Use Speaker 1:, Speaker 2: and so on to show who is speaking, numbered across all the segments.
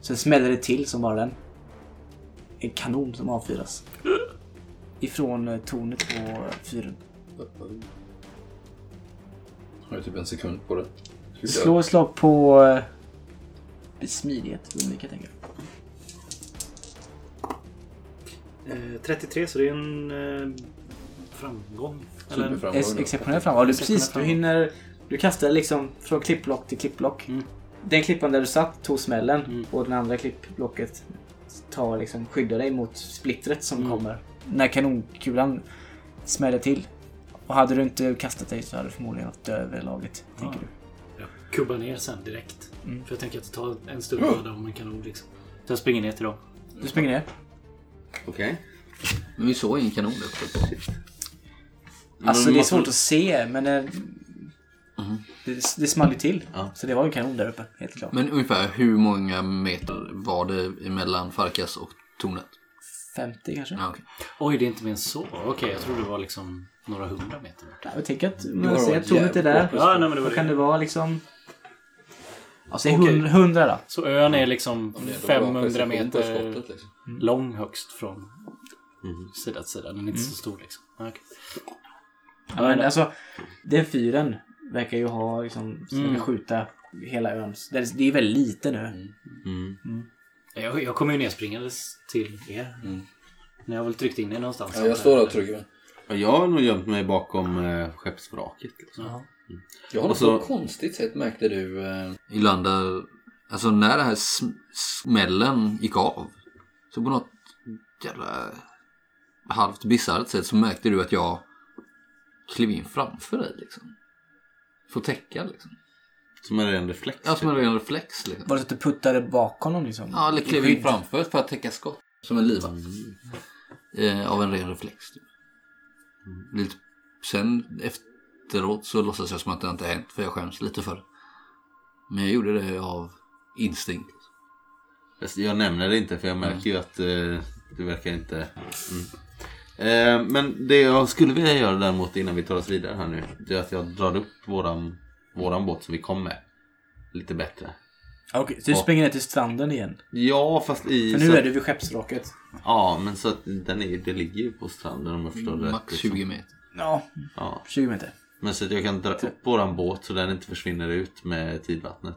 Speaker 1: Sen smäller det till som bara den. En kanon som avfyras. Ifrån eh, tornet på fyren.
Speaker 2: Har ju typ en sekund på det. Ska vi se.
Speaker 1: Slå ett slag på eh, smidighet. Undvika tänker jag.
Speaker 3: Eh, 33 så det är en eh, framgång. Eller en-
Speaker 2: Superframgång
Speaker 1: Ex-
Speaker 2: då.
Speaker 1: Exceptionell framgång. Ja, du, precis, du
Speaker 3: Exceptionell
Speaker 1: hinner... Du kastar liksom från klippblock till klippblock.
Speaker 3: Mm.
Speaker 1: Den klippan där du satt tog smällen
Speaker 3: Mm.
Speaker 1: och den andra klippblocket tar liksom, skyddar dig mot splittret som
Speaker 3: Mm.
Speaker 1: kommer. När kanonkulan smäller till. Och hade du inte kastat dig så hade du förmodligen gått över laget. Tänker du.
Speaker 3: Jag kubbar ner sen direkt.
Speaker 1: Mm.
Speaker 3: För jag tänker att det tar en stund att ladda om en kanon liksom. Så jag springer ner till dem.
Speaker 1: Du springer ner.
Speaker 4: Okej. Men vi såg ingen kanon där uppe på.
Speaker 1: Alltså
Speaker 4: Men
Speaker 1: det är
Speaker 4: måste-
Speaker 1: svårt att se men eh, det, det small ju till.
Speaker 4: Ja.
Speaker 1: Så det var ju en kanon där uppe. Helt klart.
Speaker 4: Men ungefär hur många meter var det mellan Farkas och tornet?
Speaker 1: 50 kanske?
Speaker 4: Ja, okej.
Speaker 3: Oj, det är inte mer än så. Okej, jag trodde det var liksom några hundra meter bort.
Speaker 1: Ja, Jag tänker att
Speaker 2: har
Speaker 1: man ser
Speaker 2: varit
Speaker 1: att tornet är
Speaker 2: jävligt
Speaker 1: där.
Speaker 2: bra
Speaker 3: Ja, nej, men det var
Speaker 1: Vad kan
Speaker 3: det.
Speaker 1: det vara liksom? Ja, säg
Speaker 3: Okej.
Speaker 1: 100, 100 då.
Speaker 3: Så ön är liksom
Speaker 2: Det är då bra
Speaker 3: 500
Speaker 2: precision på
Speaker 3: meter
Speaker 2: skottet, Mm. liksom.
Speaker 3: lång högst från sida till sida. Den är inte så
Speaker 2: Mm.
Speaker 3: stor liksom. Ah, okej.
Speaker 1: Ja, men alltså, den fyren verkar ju ha liksom, ska
Speaker 3: Mm.
Speaker 1: skjuta hela ön. Så Det är det är väldigt liten nu.
Speaker 3: Jag, jag kommer ju nerspringandes till er. Ni har väl tryckt in er någonstans?
Speaker 2: Mm. Ja, jag står där och trycker mig.
Speaker 5: Ja, Jag har nog gömt mig bakom eh, skeppsvraket. Liksom.
Speaker 3: Ja.
Speaker 2: Jag har något
Speaker 5: Och så-
Speaker 2: så konstigt sätt märkte du. eh,
Speaker 4: I landar... Alltså när det här sm- smällen gick av. Så på något jävla halvt bisarrt sätt så märkte du att jag klev in framför dig liksom. För att täcka liksom.
Speaker 5: Som en ren reflex.
Speaker 4: Ja, som
Speaker 5: typ.
Speaker 4: en ren reflex liksom.
Speaker 1: Var det så att du puttade bakom dem liksom?
Speaker 4: Ja, eller klev
Speaker 1: I
Speaker 4: in
Speaker 1: skydd?
Speaker 4: framför för att täcka skott. Som en livvakt. Eh, av en ren reflex. Typ. Lite. Sen efteråt så låtsas jag som att det inte har hänt för jag skäms lite för det. Men jag gjorde det av instinkt.
Speaker 5: typ. Fast Jag nämner det inte för jag märker ju att eh, du verkar inte... Mm. Eh, men det jag skulle vilja göra däremot innan vi tar oss vidare här nu. Det är att jag drar upp våran, våran båt som vi kom med. Lite bättre.
Speaker 1: Ja, Okej, så du springer ner till stranden igen.
Speaker 5: Ja fast i...
Speaker 1: För nu
Speaker 5: så
Speaker 1: är
Speaker 5: att-
Speaker 1: du vid skeppsvraket.
Speaker 5: Ja men så att den är, det ligger ju på stranden om jag förstår det
Speaker 4: Mm, Max
Speaker 5: liksom.
Speaker 4: 20 meter.
Speaker 1: Ja,
Speaker 5: Ja.
Speaker 1: 20 meter.
Speaker 5: Men så att jag kan dra upp våran båt så den inte försvinner ut med tidvattnet.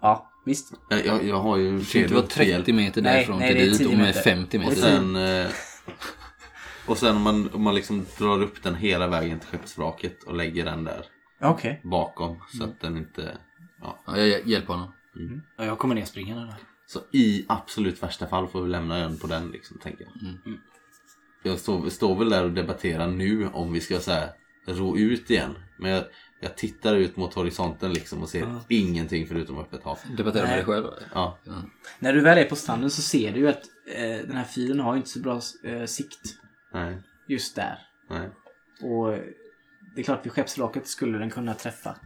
Speaker 1: Ja, visst.
Speaker 5: Jag, jag, jag har ju...
Speaker 4: Det var 30 meter
Speaker 1: Nej,
Speaker 4: därifrån
Speaker 1: nej, det är
Speaker 4: till dit
Speaker 1: 10
Speaker 4: och med
Speaker 1: meter.
Speaker 4: 50
Speaker 5: Och
Speaker 4: meter.
Speaker 5: sen... Eh, och sen om man, om man liksom drar upp den hela vägen till skeppsvraket och lägger den där
Speaker 1: Ja, Okej.
Speaker 5: bakom så att den inte...
Speaker 4: Ja, jag hj- hjälper honom.
Speaker 3: Ja, jag kommer nerspringande där.
Speaker 5: Så i absolut värsta fall får vi lämna ön på den liksom, tänker jag. Jag står, står väl där och debatterar nu om vi ska så här, ro ut igen. Men jag, jag tittar ut mot horisonten liksom och ser ingenting förutom öppet hav.
Speaker 4: Debatterar med
Speaker 1: Nej.
Speaker 4: dig själv.
Speaker 5: Ja,
Speaker 1: När du väl är på stranden så ser du ju att eh, den här fyren har ju inte så bra eh, sikt
Speaker 5: nej,
Speaker 1: just där.
Speaker 5: nej.
Speaker 1: Och det är klart, vid skeppsvraket skulle den kunna träffa.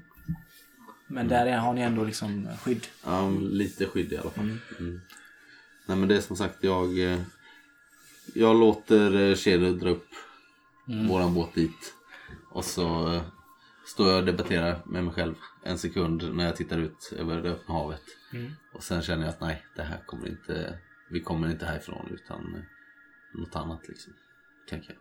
Speaker 1: Men där är- har ni ändå liksom skydd.
Speaker 5: Ja, men lite skydd i alla fall. Mm. Nej men det är som sagt jag... eh, Jag låter eh, Shedo dra upp våran båt dit. Och så eh, står jag och debatterar med mig själv en sekund när jag tittar ut över det öppna havet. Och sen känner jag att nej, det här kommer inte... Vi kommer inte härifrån utan eh, något annat liksom. Tänker jag.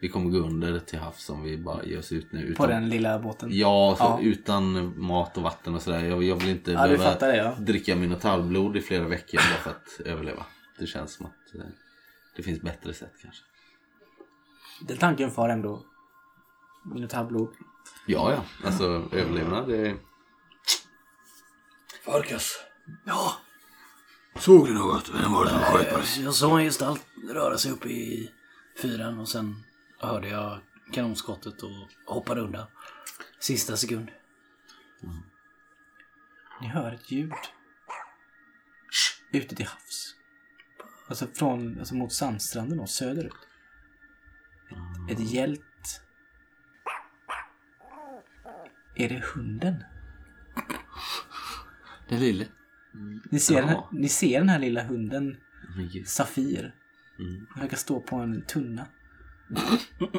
Speaker 5: Vi kommer gå under till havs om vi bara ger oss ut nu.
Speaker 1: På
Speaker 5: Utan,
Speaker 1: den lilla båten.
Speaker 5: Ja, så
Speaker 1: Ja.
Speaker 5: utan mat och vatten och sådär. Jag, jag vill inte
Speaker 1: Ja, du fattar det, ja.
Speaker 5: dricka minotaurblod i flera veckor bara för att överleva. Det känns som att eh, det finns bättre sätt kanske.
Speaker 1: Den tanken far ändå. Minotaurblod.
Speaker 5: Ja, ja. Alltså överlevnad det är...
Speaker 2: Farkas.
Speaker 4: Såg du något? Vem var det som sköt på dig?
Speaker 3: Eh, Jag såg en gestalt röra sig upp i fyran och sen hörde jag kanonskottet och hoppade undan. Sista sekund.
Speaker 1: Ni hör ett ljud. Ute till havs. Alltså, från, alltså mot sandstranden och söderut. Ett hjält. Är det hunden?
Speaker 4: Den lille.
Speaker 1: Ni ser, den här,
Speaker 5: Ja.
Speaker 1: ni ser den här lilla hunden
Speaker 5: Men gud.
Speaker 1: Safir.
Speaker 5: Mm.
Speaker 1: Den verkar stå på en tunna.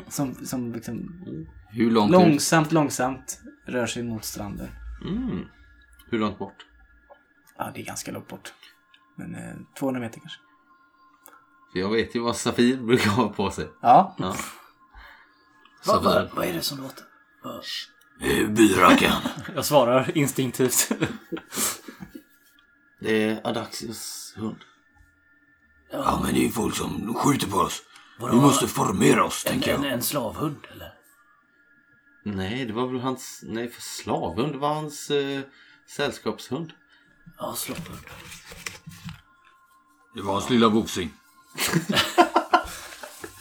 Speaker 1: Som, som liksom
Speaker 4: Hur långt ut?
Speaker 1: långsamt, långsamt rör sig mot stranden.
Speaker 5: Mm. Hur långt bort?
Speaker 1: Ja, det är ganska långt bort. Men eh, 200 meter kanske.
Speaker 5: För jag vet ju vad Safir brukar ha på sig.
Speaker 1: Ja.
Speaker 5: Ja.
Speaker 3: Vad,
Speaker 4: Safir.
Speaker 3: vad, vad är det som låter? Vad-
Speaker 4: Eh, Byrackan.
Speaker 3: Jag svarar instinktivt.
Speaker 5: Det är Adaxios hund.
Speaker 4: Ja, men det är folk som skjuter på oss.
Speaker 3: Vadå?
Speaker 4: Vi måste formera oss,
Speaker 3: En,
Speaker 4: tänker
Speaker 3: en,
Speaker 4: jag.
Speaker 3: en slavhund eller?
Speaker 5: Nej, det var väl hans... Nej, för slavhund. Det var hans eh, sällskapshund.
Speaker 3: Ja, slavhund.
Speaker 4: Det var hans lilla bosing.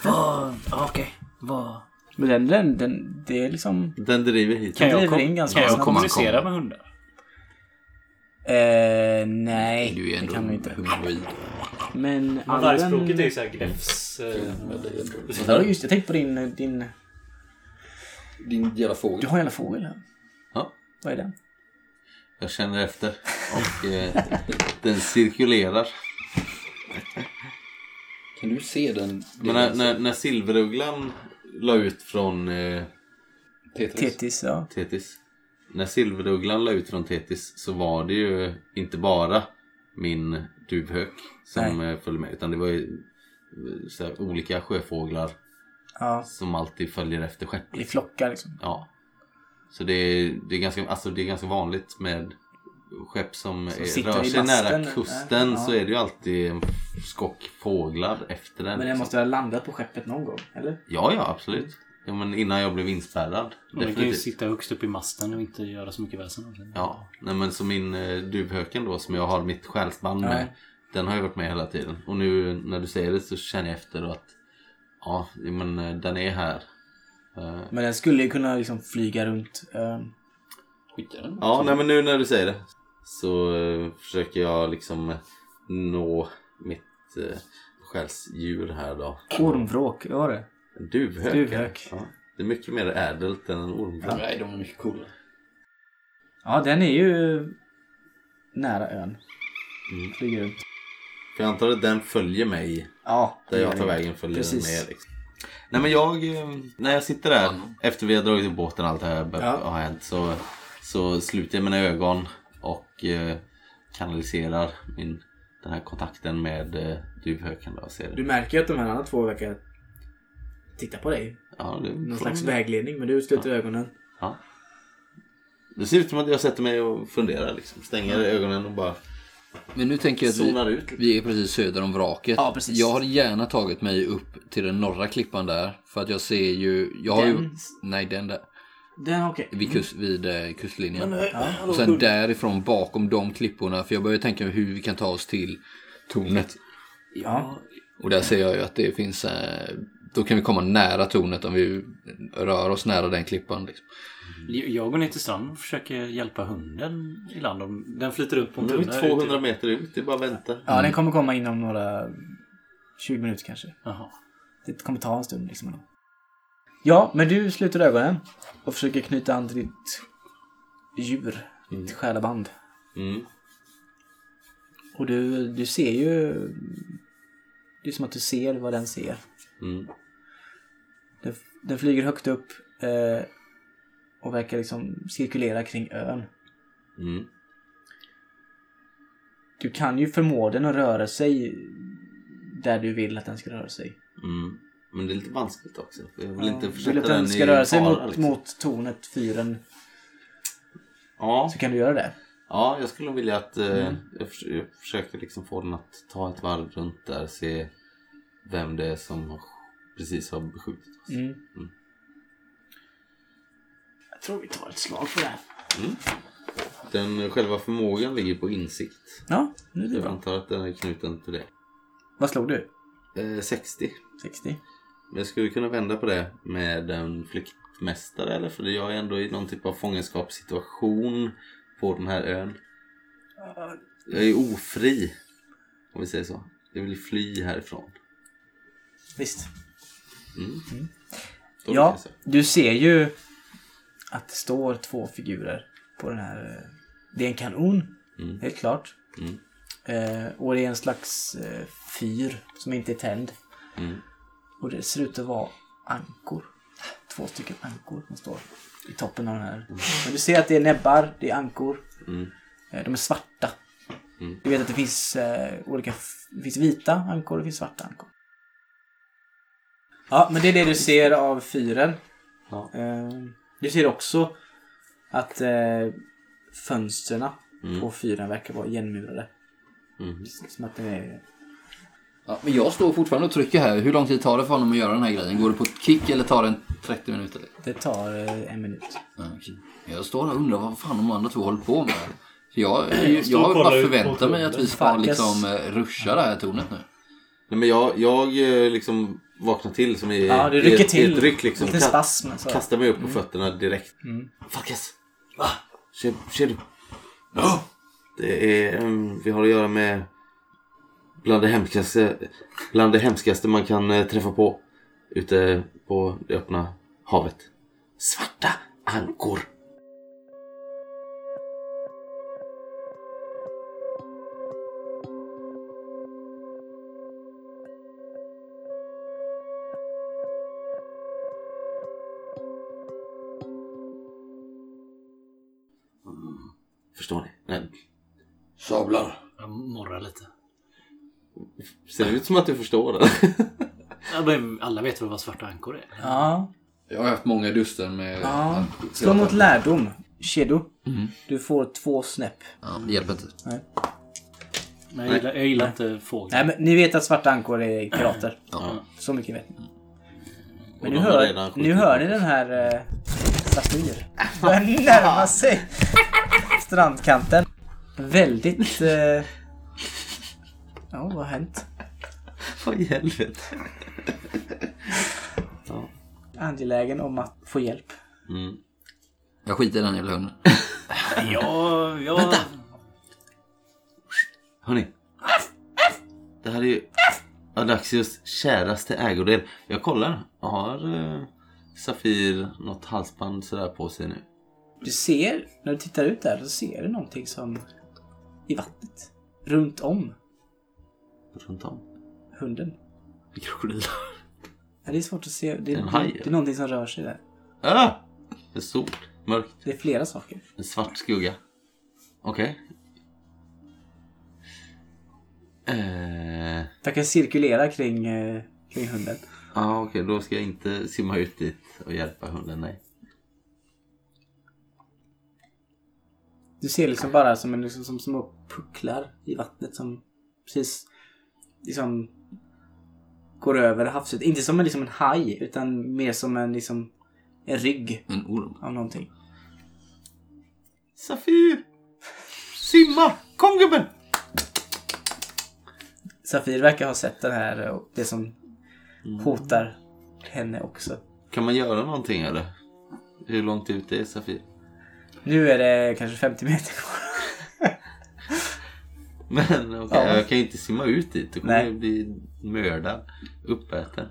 Speaker 3: Vad... Ja, okej. Vad...
Speaker 1: Men den, den, den, det är liksom...
Speaker 5: Den driver hit.
Speaker 1: Kan jag
Speaker 3: kom-
Speaker 1: driver in ganska
Speaker 3: kan jag
Speaker 1: snabbt.
Speaker 3: kommunicera med hundar?
Speaker 1: Eh, nej,
Speaker 4: Du är
Speaker 1: det
Speaker 4: ändå
Speaker 1: kan vi inte.
Speaker 4: humanoid.
Speaker 1: Men
Speaker 6: Vargspråket är ju
Speaker 1: Alven-
Speaker 6: såhär gräfs... eh,
Speaker 1: Ja, just det. Jag tänkte på din, din...
Speaker 2: Din jävla
Speaker 1: Du
Speaker 2: fågel.
Speaker 1: har en jävla fågel här.
Speaker 5: Ja,
Speaker 1: Vad är den?
Speaker 5: jag känner efter. Och eh, den cirkulerar.
Speaker 2: Kan du se den?
Speaker 5: Men när, när, när silverugglan la ut från eh,
Speaker 2: Tetris.
Speaker 1: Tetis, ja.
Speaker 5: Tetis. När silverugglan la ut från Tetis så var det ju inte bara min duvhök som eh, följde med. Utan det var ju eh, så här, olika sjöfåglar
Speaker 1: ja.
Speaker 5: som alltid följer efter stjärt.
Speaker 1: I flockar liksom.
Speaker 5: Ja. Så det är, det är, ganska, alltså det är ganska vanligt med skepp som,
Speaker 1: Som
Speaker 5: är,
Speaker 1: sitter
Speaker 5: rör
Speaker 1: i
Speaker 5: sig
Speaker 1: masten,
Speaker 5: nära kusten
Speaker 1: ja.
Speaker 5: så är det ju alltid en skock fåglar efter den.
Speaker 1: Men den
Speaker 5: liksom.
Speaker 1: måste ha landat på skeppet någon gång, eller?
Speaker 5: Ja, ja absolut. Ja, men innan jag blev inspärrad.
Speaker 3: Den kan ju
Speaker 5: definitivt.
Speaker 3: sitta högst upp i masten och inte göra så mycket väsen av sig.
Speaker 5: Ja, nej, men så min eh, duvhöken då som jag har mitt själsband med.
Speaker 1: Ja.
Speaker 5: Den har ju varit med hela tiden. Och nu när du säger det så känner jag efter att ja, men eh, den är här. Eh,
Speaker 1: Men den skulle ju kunna liksom flyga runt ehm, ön.
Speaker 2: Skickar den?
Speaker 5: Ja, nej men nu när du säger det så eh, försöker jag liksom eh, nå mitt eh, själsdjur här då.
Speaker 1: Ormvråk, vad var det?
Speaker 5: En Duvhök.
Speaker 1: Duvhök.
Speaker 5: Ja, det är mycket mer ädelt än en ormvråk.
Speaker 2: Nej, de är mycket coolare.
Speaker 1: Ja, den är ju nära ön.
Speaker 5: Mm.
Speaker 1: Flyger runt.
Speaker 5: För jag antar att den följer mig
Speaker 1: Ja,
Speaker 5: Där
Speaker 1: det
Speaker 5: jag
Speaker 1: gör
Speaker 5: tar
Speaker 1: den.
Speaker 5: vägen följer den
Speaker 1: Mm. Precis.
Speaker 5: med. Liksom. Nej men jag, eh, när jag sitter där efter vi har dragit i båten och allt det här be-
Speaker 1: Ja.
Speaker 5: har hänt så, så sluter jag mina ögon och eh, kanaliserar min, den här kontakten med eh, duvhöken. Då, och ser
Speaker 1: Du märker ju att de här andra två verkar titta på dig.
Speaker 5: ja, det,
Speaker 1: Någon slags vägledning, men du sluter ögonen.
Speaker 5: Ja. Det ser ut som att jag sätter mig och funderar liksom. Stänger ögonen och bara
Speaker 4: Men nu tänker jag
Speaker 5: zonar
Speaker 4: att vi,
Speaker 5: ut. lite.
Speaker 4: vi är precis söder om vraket.
Speaker 1: Ja, precis.
Speaker 4: Jag hade gärna tagit mig upp till den norra klippan där. För att jag ser ju... Jag har ju
Speaker 1: Den?
Speaker 4: nej, den där.
Speaker 1: Den, okej.
Speaker 4: Vid, kust, vid eh, kustlinjen.
Speaker 1: Ja.
Speaker 4: Och sen därifrån bakom de klipporna. För jag börjar tänka hur vi kan ta oss till tornet.
Speaker 1: ja.
Speaker 4: Och där ser jag ju att det finns... Eh, då kan vi komma nära tornet om vi rör oss nära den klippan. Liksom.
Speaker 3: Jag jag går ner till stranden och försöker hjälpa hunden i land. Om- Den flyter upp på en
Speaker 5: Nu är
Speaker 3: tunna.
Speaker 5: vi
Speaker 3: ut i-
Speaker 5: 200 meter ut, det är bara att vänta.
Speaker 1: Ja, den kommer komma inom några 20 minuter kanske.
Speaker 3: Jaha.
Speaker 1: Det kommer ta en stund liksom. ändå. Ja, men du sluter ögonen och försöker knyta an till ditt djur, ditt själaband.
Speaker 5: Mm.
Speaker 1: Och du, du ser ju... Det är som att du ser vad den ser.
Speaker 5: Mm.
Speaker 1: Den, den flyger högt upp eh, och verkar liksom cirkulera kring ön.
Speaker 5: Mm.
Speaker 1: Du kan ju förmå den att röra sig där du vill att den ska röra sig.
Speaker 5: Mm. Men det är lite vanskligt också. för Jag vill inte
Speaker 1: Ja,
Speaker 5: försätta
Speaker 1: vill att den
Speaker 5: den
Speaker 1: ska
Speaker 5: i
Speaker 1: röra sig
Speaker 5: fara,
Speaker 1: mot,
Speaker 5: liksom.
Speaker 1: mot tornet, fyren,
Speaker 5: Ja.
Speaker 1: så kan du göra det.
Speaker 5: ja, jag skulle vilja att eh,
Speaker 1: Mm.
Speaker 5: jag, förs- jag försöker liksom få den att ta ett varv runt där. Se vem det är som har, precis har beskjutit oss.
Speaker 1: Mm. Jag tror vi tar ett slag på det här.
Speaker 5: Den själva förmågan ligger på insikt.
Speaker 1: Ja, nu är det
Speaker 5: Jag
Speaker 1: bra.
Speaker 5: antar att den är knuten till det.
Speaker 1: Vad slog du?
Speaker 5: Eh, 60.
Speaker 1: 60?
Speaker 5: Men jag skulle kunna vända på det med en flyktmästare eller? För jag är ändå i någon typ av fångenskapssituation på den här ön. Jag är ofri. Om vi säger så. Jag vill fly härifrån.
Speaker 1: Visst.
Speaker 5: Då
Speaker 1: ja,
Speaker 5: lyckas jag.
Speaker 1: du ser ju att det står två figurer på den här. eh, Det är en kanon,
Speaker 5: Mm.
Speaker 1: helt klart.
Speaker 5: Mm.
Speaker 1: Eh, och det är en slags eh, fyr som inte är tänd.
Speaker 5: Mm.
Speaker 1: Och det ser ut att vara ankor. Två stycken ankor som står i Mm. toppen av den här. Men du ser att det är näbbar, det är ankor.
Speaker 5: Mm.
Speaker 1: Eh, de är svarta. Du vet att det finns eh, olika... Det finns vita ankor och det finns svarta ankor. Ja, men det är det du ser av fyren.
Speaker 5: Ja.
Speaker 1: Eh, du ser också att eh, fönstren på fyren verkar vara igenmurade. Som att den är...
Speaker 4: Ja, men jag står fortfarande och trycker här. Hur lång tid tar det för honom att göra den här grejen? Går det på ett kick eller tar det en 30 minuter? Eller?
Speaker 1: Det tar eh, en minut.
Speaker 4: Ja, okej. Jag står här och undrar vad fan de andra två håller på med. Så jag jag,
Speaker 6: står och
Speaker 4: har ju bara
Speaker 6: kollar ut på
Speaker 4: förväntat mig att vi ska
Speaker 1: Farkas.
Speaker 4: liksom eh, ruscha det här tornet nu.
Speaker 5: Nej, men jag, jag eh, liksom vaknar till som i,
Speaker 1: Ja, du rycker
Speaker 5: i ett-
Speaker 1: till.
Speaker 5: I ett ryck liksom.
Speaker 1: Lite
Speaker 5: Ka-
Speaker 1: spasm, alltså. Mm. så.
Speaker 5: kastar mig upp på fötterna direkt. Farkas! Va? Ser, ser du? Ja! Det är, ehm, vi har att göra med bland det hemskaste, bland det hemskaste man kan eh, träffa på ute på det öppna havet. Svarta ankor. Förstår ni? Nej.
Speaker 2: Sablar.
Speaker 3: Jag morrar lite.
Speaker 5: Ser det ut som att du förstår det?
Speaker 3: Ja, men alla vet väl vad svarta ankor är?
Speaker 1: Ja.
Speaker 4: Jag har haft många duster med...
Speaker 1: ja. Slå mot lärdom. Kedo. Du får två snäpp.
Speaker 4: Ja, det hjälper inte.
Speaker 3: Nej, jag gillar, jag gillar inte fåglar.
Speaker 1: Nej, men ni vet att svarta ankor är pirater.
Speaker 4: Ja.
Speaker 1: Så mycket vet ni. Men
Speaker 5: Mm. Och
Speaker 1: nu
Speaker 5: de har
Speaker 1: hör,
Speaker 5: redan
Speaker 1: nu
Speaker 5: skjutit
Speaker 1: hör
Speaker 5: på
Speaker 1: ni
Speaker 5: oss.
Speaker 1: den här eh, Safir. Börjar närma sig strandkanten. Väldigt... Eh... Ja, vad har hänt?
Speaker 5: Vad i helvete?
Speaker 1: Angelägen om att få hjälp.
Speaker 5: Mm.
Speaker 4: Jag skiter i den jävla hunden.
Speaker 3: Ja, ja. Vänta!
Speaker 5: Hörni. Det här är ju Adaxios käraste ägodel. Jag kollar. Har eh, Safir något halsband sådär på sig nu?
Speaker 1: Du ser, när du tittar ut där, så ser du någonting som... I vattnet. Runt om
Speaker 5: Runt om?
Speaker 1: hunden.
Speaker 5: En krokodil.
Speaker 1: Ja, det är svårt att se. Det är,
Speaker 5: En haj,
Speaker 1: det, är någonting som rör sig där.
Speaker 5: Ah! Det är stort, mörkt,
Speaker 1: Det är flera saker.
Speaker 5: en svart skugga. Okej. Eh,
Speaker 1: Verkar cirkulera kring, eh, kring hunden.
Speaker 5: ah, okej, då ska jag inte simma ut dit och hjälpa hunden, nej.
Speaker 1: Du ser liksom bara som, en, liksom, som små pucklar i vattnet som precis liksom går över havset. Inte som en, liksom en haj utan mer som en, liksom, en rygg
Speaker 4: En orm.
Speaker 1: av någonting.
Speaker 5: Safir! Simma! Kom gubben!
Speaker 1: Safir verkar ha sett den här och det som hotar henne också.
Speaker 5: Kan man göra någonting eller? Hur långt ut är Safir?
Speaker 1: Nu är det kanske 50 meter kvar.
Speaker 5: Men okej,
Speaker 1: Ja.
Speaker 5: jag kan ju inte simma ut dit. Då kommer
Speaker 1: Nej.
Speaker 5: jag bli mördad. Uppäten.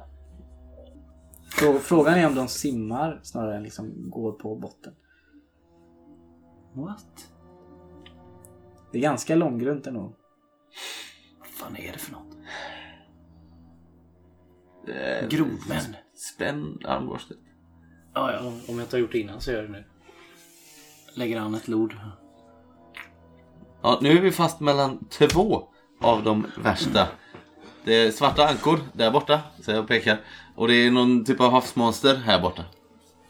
Speaker 1: Så frågan är om de simmar snarare än liksom går på botten.
Speaker 3: What?
Speaker 1: Det är ganska långgrunt ändå.
Speaker 3: Vad fan är det för något?
Speaker 5: Eh,
Speaker 3: Grovmän?
Speaker 5: Spänn armborstet.
Speaker 3: Ja, ja, om jag inte har gjort det innan så gör jag det nu. Lägger an ett lod.
Speaker 5: Ja, nu är vi fast mellan två av de värsta. Det är svarta ankor där borta, så jag pekar. Och det är någon typ av havsmonster här borta.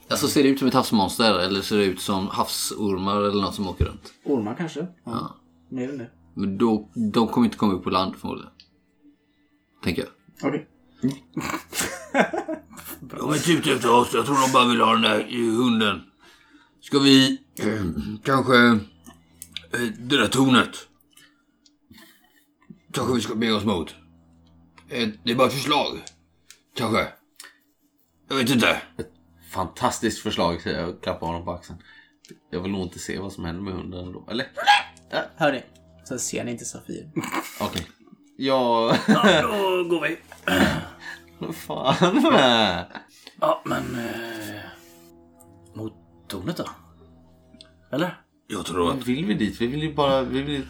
Speaker 4: Alltså ser det ut som ett havsmonster eller ser det ut som havsormar eller något som åker runt?
Speaker 1: Ormar kanske?
Speaker 4: Ja.
Speaker 1: Nu nu.
Speaker 4: Men då, de kommer inte komma upp på land förmodligen. Tänker jag.
Speaker 1: Okej.
Speaker 4: De är inte ute efter oss. Jag tror de bara vill ha den där eh, hunden. Ska vi eh, kanske... eh, Det där tornet. Kanske vi ska bege oss mot. Eh, Det är bara ett förslag. Kanske. Jag vet inte.
Speaker 5: Fantastiskt förslag, säger jag och klappar honom på axeln. Jag vill nog inte se vad som händer med hunden då. Eller?
Speaker 1: Hörni, så ser ni inte Safir.
Speaker 5: Okej. Ja,
Speaker 3: Ja, då går vi.
Speaker 5: vad fan.
Speaker 3: Ja, men... Eh, mot tornet då? Eller?
Speaker 4: Jag tror att...
Speaker 5: Vad vill vi dit? Vi vill ju bara vi vill ju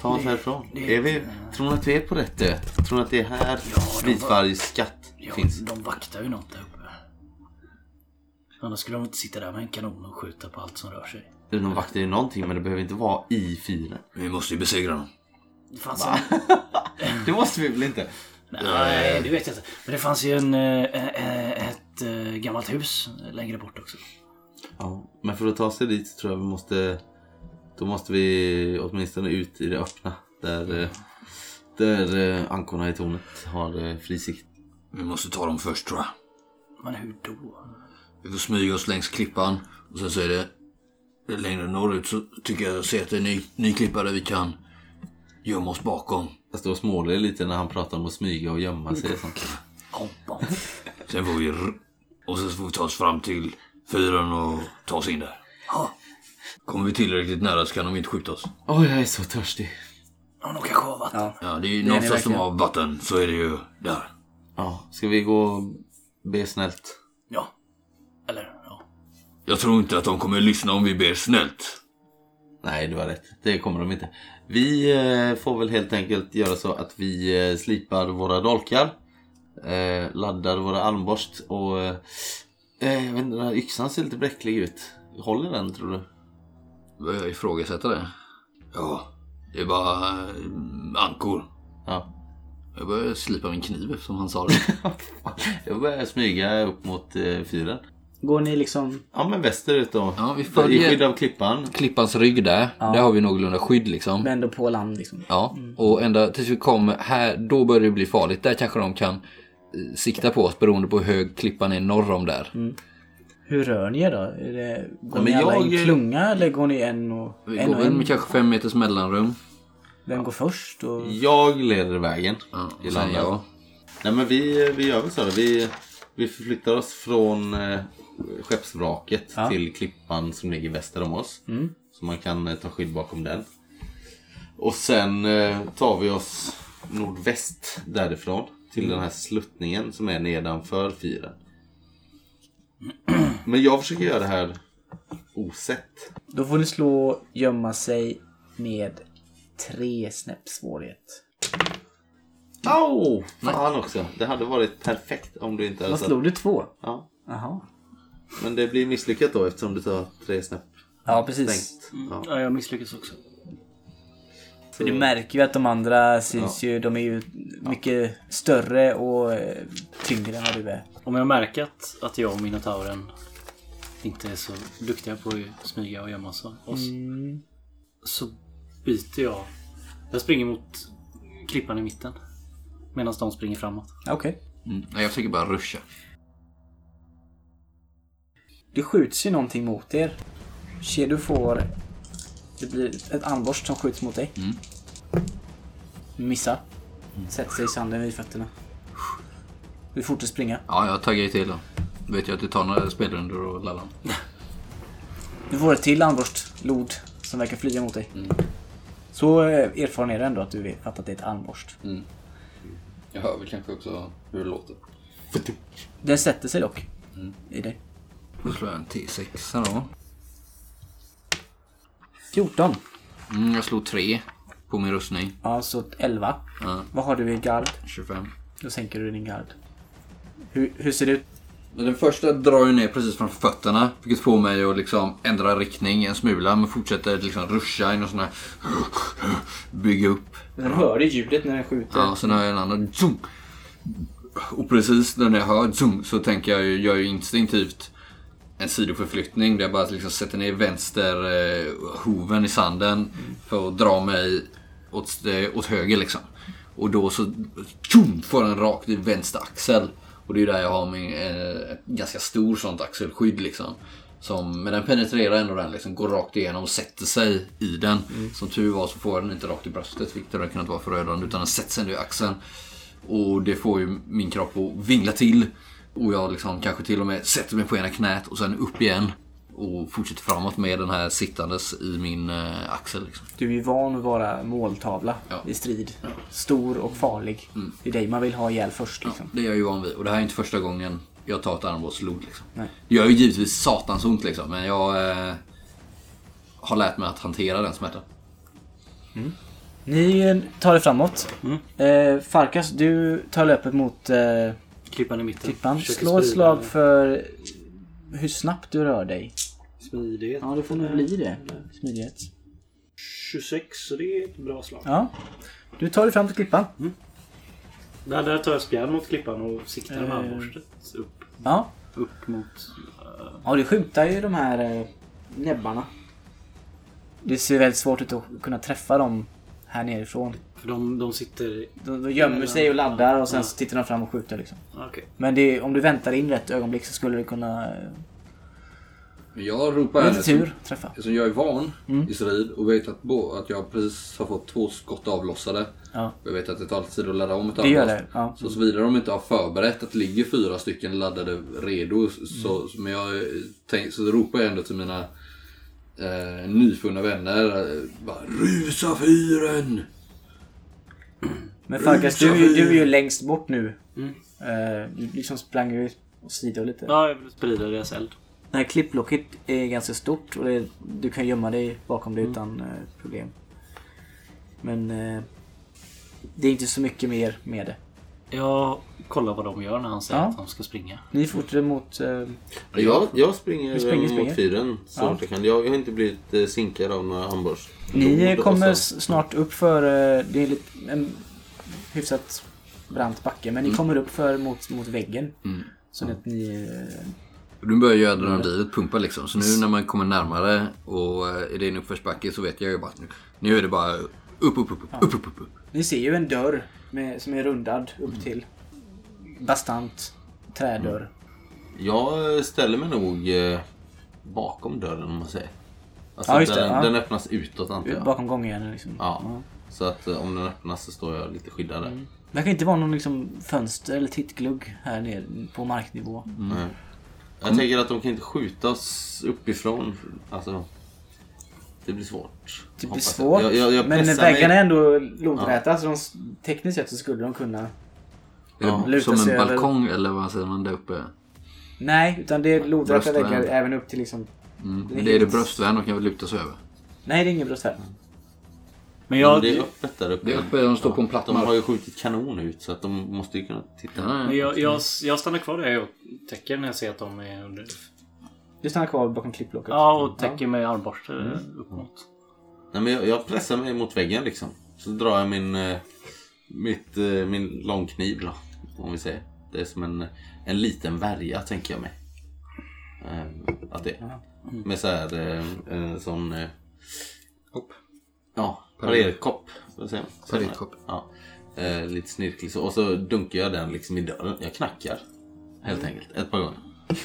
Speaker 5: ta oss härifrån.
Speaker 3: det-
Speaker 5: är vi, tror ni att vi är på rätt ö? Tror ni att det är här
Speaker 3: de
Speaker 5: vitvargs skatt
Speaker 3: Ja,
Speaker 5: finns?
Speaker 3: de vaktar ju något där uppe. Annars skulle de inte sitta där med en kanon och skjuta på allt som rör sig.
Speaker 5: De vaktar ju någonting men det behöver inte vara i fyren.
Speaker 4: Vi måste ju besegra dem.
Speaker 3: Det fanns en,
Speaker 5: Det måste vi väl inte?
Speaker 3: nej, det vet jag inte. Men det fanns ju en, eh, eh, ett eh, gammalt hus längre bort också.
Speaker 5: Ja, men för att ta sig dit så tror jag vi måste... Då måste vi åtminstone ut i det öppna. Där, eh, där eh, ankorna i tornet har eh, fri sikt.
Speaker 4: Vi måste ta dem först tror jag.
Speaker 3: Men hur då?
Speaker 4: Vi får smyga oss längs klippan och sen så är det det är längre norrut så tycker jag att se att det är en ny, ny klippa där vi kan gömma oss bakom.
Speaker 5: Jag står och småler lite när han pratar om att smyga och gömma sig. och sånt.
Speaker 4: Sen får vi r- och sen så får vi ta oss fram till fyren och ta oss in där. Kommer vi tillräckligt nära så kan de inte skjuta oss.
Speaker 5: Åh, jag är så törstig.
Speaker 3: Ja, de kanske har vatten.
Speaker 1: Ja.
Speaker 4: Ja, det är ju
Speaker 1: Det är ni
Speaker 4: någonstans de
Speaker 1: verkligen.
Speaker 4: har vatten så är det ju där.
Speaker 5: Ja, ska vi gå och be snällt?
Speaker 3: Ja. Eller ja.
Speaker 4: Jag tror inte att de kommer lyssna om vi ber snällt.
Speaker 5: Nej, du har rätt. Det kommer de inte. Vi eh, får väl helt enkelt göra så att vi eh, slipar våra dolkar, eh, laddar våra armborst och... Eh, eh, jag vet inte, den här yxan ser lite bräcklig ut. Håller den, tror du?
Speaker 4: Börjar jag ifrågasätta det? Ja, det är bara eh, ankor.
Speaker 5: Ja.
Speaker 4: Jag börjar slipa min kniv som han sa det.
Speaker 5: Jag börjar smyga upp mot eh, fyren.
Speaker 1: Går ni liksom...
Speaker 5: Ja, men västerut då.
Speaker 4: Ja, vi
Speaker 5: I
Speaker 4: följer-
Speaker 5: skydd av klippan.
Speaker 4: Klippans rygg där, där har vi någorlunda skydd liksom.
Speaker 1: Men ändå på land liksom.
Speaker 4: Ja, och ända tills vi kommer här, då börjar det bli farligt. Där kanske de kan eh, sikta på oss beroende på hur hög klippan är norr om där.
Speaker 1: Hur rör ni er då? Är det, går
Speaker 5: men
Speaker 1: ni alla i
Speaker 5: jag-
Speaker 1: en klunga eller går ni en och
Speaker 4: Vi
Speaker 1: en?
Speaker 4: går
Speaker 1: Och
Speaker 4: väl
Speaker 1: en?
Speaker 4: med kanske fem meters mellanrum.
Speaker 1: Vem går först? Och...
Speaker 5: Jag leder vägen.
Speaker 4: Ja,
Speaker 5: i
Speaker 4: och sen
Speaker 5: landet.
Speaker 4: jag.
Speaker 5: Nej men vi, vi gör väl så här. Vi, vi förflyttar oss från eh, skeppsvraket till klippan som ligger väster om oss.
Speaker 1: Mm.
Speaker 5: Så man kan eh, ta skydd bakom den. Och sen eh, tar vi oss nordväst därifrån till
Speaker 1: Mm.
Speaker 5: den här sluttningen som är nedanför fyren. Men jag försöker göra det här osett.
Speaker 1: Då får ni slå gömma sig med tre snäpp svårighet.
Speaker 5: Au! Fan också. Det hade varit perfekt om du inte hade
Speaker 1: Vad
Speaker 5: satt-
Speaker 1: slog du? Två?
Speaker 5: Ja.
Speaker 1: Jaha.
Speaker 5: Men det blir misslyckat då eftersom du tar tre snäpp
Speaker 1: Ja, precis.
Speaker 5: stängt. Ja.
Speaker 3: Ja, jag misslyckas också.
Speaker 1: För du märker ju att de andra syns ju. De är ju mycket större och eh, tyngre än vad du är.
Speaker 3: Om jag märker att, att jag och minotauren inte är så duktiga på att smyga och gömma oss, oss,
Speaker 1: Mm.
Speaker 3: så byter jag. Jag springer mot klippan i mitten. Medan de springer framåt.
Speaker 1: Okej.
Speaker 4: Mm. Nej, jag försöker bara ruscha.
Speaker 1: Det skjuts ju någonting mot er. Ser du får... Det blir ett armborst som skjuts mot dig. Missar. Sätter sig i sanden vid fötterna. Du får inte springa.
Speaker 4: Ja, jag taggar ju till då. Vet jag att det tar några spelrundor och lallan.
Speaker 1: Du får ett till armborstlod som verkar flyga mot dig. Så eh, erfaren är du ändå att du vet att det är ett armborst.
Speaker 4: Jag hör väl kanske också hur det låter.
Speaker 1: Den sätter sig dock i dig.
Speaker 4: Då slår jag en T6 då.
Speaker 1: 14.
Speaker 4: Mm, jag slog tre på min rustning.
Speaker 1: Ja, så 11.
Speaker 4: Ja.
Speaker 1: Vad har du i gard?
Speaker 4: 25.
Speaker 1: Då sänker du din gard. Hur, hur ser det ut?
Speaker 4: Men Den första drar ju ner precis från fötterna, vilket får mig att liksom ändra riktning en smula, men fortsätter liksom ruscha i någon sån här... Bygga upp.
Speaker 1: Den hör ju ljudet när den skjuter.
Speaker 4: Ja, sen har jag en annan... Zoom! Och precis när jag hör zoom så tänker jag ju, gör ju instinktivt en sidoförflyttning där jag bara liksom sätter ner vänster eh, hoven i sanden för att dra mig åt, eh, åt höger liksom. Och då så tjum, får den rakt i vänster axel. Och det är ju där jag har min eh, ett ganska stor sånt axelskydd liksom. Som, men den penetrerar ändå den liksom, går rakt igenom och sätter sig i den. Som tur var så får jag den inte rakt i bröstet, vilket hade kunnat vara förödande, utan den sätter sig ändå i axeln. Och det får ju min kropp att vingla till. Och jag liksom kanske till och med sätter mig på ena knät och sen upp igen. Och fortsätter framåt med den här sittandes i min eh, axel. Liksom.
Speaker 1: Du är ju van att vara måltavla
Speaker 4: Ja. Mm.
Speaker 1: i strid. Stor och farlig. Det är dig man vill ha ihjäl först. Liksom.
Speaker 4: Det är jag ju van vid. Och det här är inte första gången jag tar ett armbågslod. Liksom.
Speaker 1: Nej.
Speaker 4: Det gör ju givetvis satans ont liksom. Men jag eh, har lärt mig att hantera den smärtan.
Speaker 1: Ni eh, tar er framåt. Eh, Farkas, du tar löpet mot eh,
Speaker 3: Klippan i mitten.
Speaker 1: klippan.
Speaker 3: Försöker
Speaker 1: Slå ett
Speaker 3: smyga.
Speaker 1: slag för hur snabbt du rör dig.
Speaker 3: Smidighet.
Speaker 1: Ja, det får nog bli det. Smidighet.
Speaker 6: 26, så det är ett bra slag.
Speaker 1: Ja. Du tar dig fram till klippan.
Speaker 3: Där, där tar jag spjärn mot klippan och siktar med
Speaker 1: Eh.
Speaker 3: armborstet upp,
Speaker 1: Ja.
Speaker 3: upp mot... eh,
Speaker 1: Ja, du skymtar ju de här eh, näbbarna. Det ser väldigt svårt ut att kunna träffa dem här nerifrån.
Speaker 3: För de, de sitter...
Speaker 1: De, de gömmer sig och laddar och sen så tittar de fram och skjuter liksom.
Speaker 3: Ah, Okej.
Speaker 1: Men det, om du väntar in rätt ögonblick så skulle du kunna... eh,
Speaker 4: Men Jag ropar
Speaker 1: Med
Speaker 4: henne
Speaker 1: lite
Speaker 4: som,
Speaker 1: tur Mm. träffa.
Speaker 4: eftersom jag är van i strid och vet att, bo, att jag precis har fått två skott avlossade.
Speaker 1: Ja.
Speaker 4: Och jag vet att det tar lite tid att ladda om ett
Speaker 1: Det gör
Speaker 4: avloss.
Speaker 1: det, ja.
Speaker 4: Så såvida de inte har förberett att det ligger fyra stycken laddade redo. Så, men jag, eh, tänk, så ropar jag ändå till mina eh, nyfunna vänner. eh, Bara, Rusa fyren!
Speaker 1: Men Farkas, du, du är ju längst bort nu. Eh, Du liksom sprang ju åt sidan lite.
Speaker 3: Ja, jag vill sprida deras eld.
Speaker 1: Det här klipplocket är ganska stort och det, du kan gömma dig bakom det utan eh, problem. Men eh, det är inte så mycket mer med det.
Speaker 3: Jag kollar vad de gör när han säger
Speaker 1: Ja.
Speaker 3: att de ska springa.
Speaker 1: Ni fortsätter mot... Eh,
Speaker 5: Jag, jag springer,
Speaker 1: Du springer, springer.
Speaker 5: mot fyren så
Speaker 1: Ja.
Speaker 5: fort jag kan. Jag har inte blivit eh, sinkad av några handborst.
Speaker 1: ni eh,
Speaker 5: Blod och
Speaker 1: kommer
Speaker 5: så-
Speaker 1: s- snart upp för... Eh, det är lite, en hyfsat brant backe men
Speaker 5: Mm.
Speaker 1: ni kommer upp för mot, mot väggen. Så att ni... Eh,
Speaker 4: Och Nu börjar ju adrenalinet pumpa liksom. Så nu när man kommer närmare och eh, är det en uppförsbacke så vet jag ju bara att nu, nu är det bara upp, upp, upp, upp, upp, upp, upp, upp.
Speaker 1: ni ser ju en dörr med, som är rundad
Speaker 5: Mm.
Speaker 1: upp till. Bastant trädörr.
Speaker 5: Mm. Jag eh, ställer mig nog eh, bakom dörren om man säger. Alltså
Speaker 1: Ja, just det,
Speaker 5: den,
Speaker 1: ja.
Speaker 5: den öppnas utåt antar jag.
Speaker 1: Bakom gångjärnen liksom.
Speaker 5: Ja. Så att eh, om den öppnas så står jag lite skyddad där.
Speaker 1: Det verkar inte vara någon liksom fönster eller tittglugg här nere på marknivå. Typ,
Speaker 5: Nej. Eh, Jag tänker att de kan inte skjuta oss uppifrån. Alltså, det blir svårt.
Speaker 1: Det blir
Speaker 5: hoppas jag.
Speaker 1: svårt.
Speaker 5: Jag, jag, jag
Speaker 1: men
Speaker 5: pressar
Speaker 1: väggarna
Speaker 5: mig.
Speaker 1: är äå lodräta så de, s- tekniskt sett så skulle de kunna.
Speaker 4: Eller
Speaker 1: luta
Speaker 4: Som
Speaker 1: sig
Speaker 4: en
Speaker 1: över.
Speaker 4: balkong eller vad säger man där uppe?
Speaker 1: Nej, utan det är lodräta
Speaker 4: Bröstvärn.
Speaker 1: väggar även upp till liksom...
Speaker 4: Mm.
Speaker 1: Det är
Speaker 4: Det är det
Speaker 1: helt-
Speaker 4: bröstvärn de kan väl luta sig över.
Speaker 1: Nej, det är ingen bröstvärn.
Speaker 3: Men
Speaker 5: Men
Speaker 3: jag,
Speaker 5: det är öppet där uppe.
Speaker 4: Det är uppe, de står på en platt
Speaker 5: De har
Speaker 4: mark.
Speaker 5: ju skjutit kanon ut så att de måste ju kunna titta.
Speaker 4: Ja,
Speaker 3: men
Speaker 4: ja.
Speaker 3: jag, jag, jag stannar kvar där och täcker när jag ser att de är under...
Speaker 1: Du stannar kvar bakom klippblocket.
Speaker 3: Ja, och täcker med eh, armborste
Speaker 5: Mm.
Speaker 3: upp mot.
Speaker 5: Nej, men jag, jag pressar mig mot väggen liksom. Så drar jag min, eh, mitt, eh, min långkniv då. Om vi säger. Det är som en, en liten värja tänker jag mig. Eh, Att det är. Med så här eh, en sån... eh,
Speaker 4: Hopp.
Speaker 5: Ja, parerkopp. vad säger man?
Speaker 4: Parerkopp.
Speaker 5: Ja. Eh, lite snirklig så. Och så dunkar jag den liksom i dörren. Jag knackar. Helt enkelt. Ett par gånger.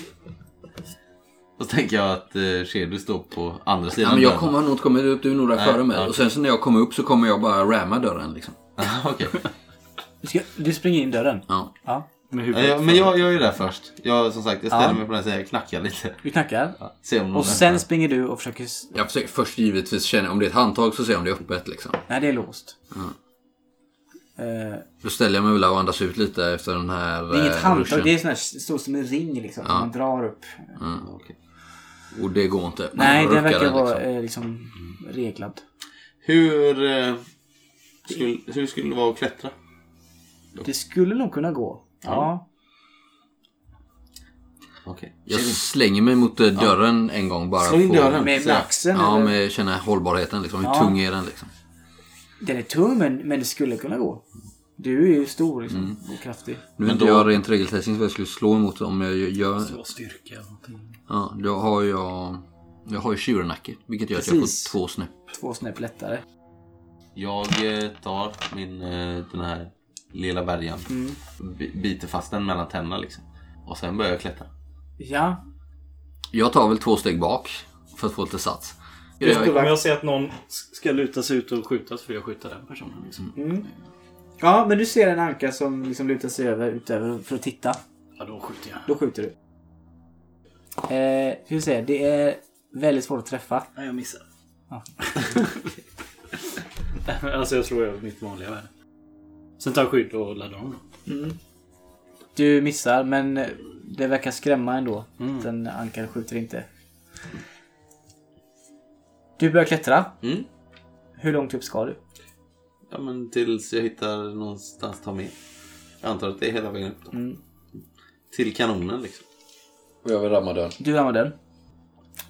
Speaker 5: Och så tänker jag att eh, Shedu står på andra sidan
Speaker 4: Ja, men jag
Speaker 5: dörren.
Speaker 4: kommer har nog inte kommit upp, du är nog där
Speaker 5: Nej,
Speaker 4: före mig.
Speaker 5: ja.
Speaker 4: Och sen så när jag kommer upp så kommer jag bara ramma dörren liksom.
Speaker 5: Okej.
Speaker 1: Du, ska, du springer in dörren.
Speaker 4: Ja.
Speaker 1: Ja.
Speaker 3: Med
Speaker 5: Eh, Ja,
Speaker 3: huvudet.
Speaker 5: ja, men jag, jag är där först. Jag, som sagt, jag ställer
Speaker 1: Ja.
Speaker 5: mig på den sidan, jag knackar lite.
Speaker 1: Du knackar.
Speaker 5: Se om någon
Speaker 1: Och sen
Speaker 5: öppnar.
Speaker 1: springer du och försöker... s-
Speaker 4: Jag försöker först givetvis känna, om det är ett handtag så ser jag om det är öppet liksom.
Speaker 1: Nej, det är låst.
Speaker 4: Mm.
Speaker 1: Eh,
Speaker 4: Då ställer jag mig väl och andas ut lite efter den här
Speaker 1: det är inget
Speaker 4: eh,
Speaker 1: handtag,
Speaker 4: ruschen. Mm.
Speaker 1: det är sån här, står som en ring liksom. som Man drar upp.
Speaker 5: Okej.
Speaker 4: Och det går inte. Man
Speaker 1: Nej, den
Speaker 4: ruckar
Speaker 1: verkar
Speaker 4: den,
Speaker 1: vara
Speaker 4: liksom.
Speaker 1: eh, liksom reglad.
Speaker 5: Hur, eh, skulle, hur skulle det vara att klättra?
Speaker 1: Det skulle nog kunna gå. ja.
Speaker 5: Okej.
Speaker 4: Jag slänger mig mot eh, dörren en gång bara.
Speaker 5: Slå in
Speaker 4: för-
Speaker 5: dörren.
Speaker 1: Med, med
Speaker 5: Så här.
Speaker 1: axeln?
Speaker 4: Ja,
Speaker 1: eller?
Speaker 4: med känna hållbarheten liksom. Hur
Speaker 1: Ja.
Speaker 4: tung är den liksom?
Speaker 1: Den är tung men, men det skulle kunna gå. Du är ju stor liksom,
Speaker 4: Mm.
Speaker 1: och kraftig.
Speaker 4: Nu vet inte jag rent regeltestning vad jag skulle slå emot om jag gör...
Speaker 3: Så styrka eller någonting.
Speaker 4: Ja, då har jag... Jag har ju tjurnacke, vilket gör att jag
Speaker 1: Precis.
Speaker 4: får två snäpp.
Speaker 1: Två snäpp lättare.
Speaker 5: Jag eh, tar min, eh, den här lilla värjan. Bi- Biter fast den mellan tänderna liksom. Och sen börjar jag klättra.
Speaker 1: Ja.
Speaker 4: Jag tar väl två steg bak för att få lite sats.
Speaker 3: Om jag ser att någon ska luta sig ut och skjutas för jag skjuta den personen. Liksom.
Speaker 5: Mm.
Speaker 1: Ja, men du ser en anka som liksom lutar sig över utöver för att titta.
Speaker 3: Ja, då skjuter jag.
Speaker 1: Då skjuter du. Eh, ska vi se, det är väldigt svårt att träffa.
Speaker 3: Nej, jag missar.
Speaker 1: Ja.
Speaker 3: alltså jag slår över mitt vanliga värde. Sen tar jag skydd och laddar om.
Speaker 1: Du missar, men det verkar skrämma ändå. Den ankan skjuter inte. Du börjar klättra.
Speaker 5: Mm.
Speaker 1: Hur långt upp ska du?
Speaker 5: Ja, men tills jag hittar någonstans att ta med. Jag antar att det är hela vägen upp då. Till kanonen liksom.
Speaker 4: Och jag vill ramma dörren.
Speaker 1: Du ramlar den.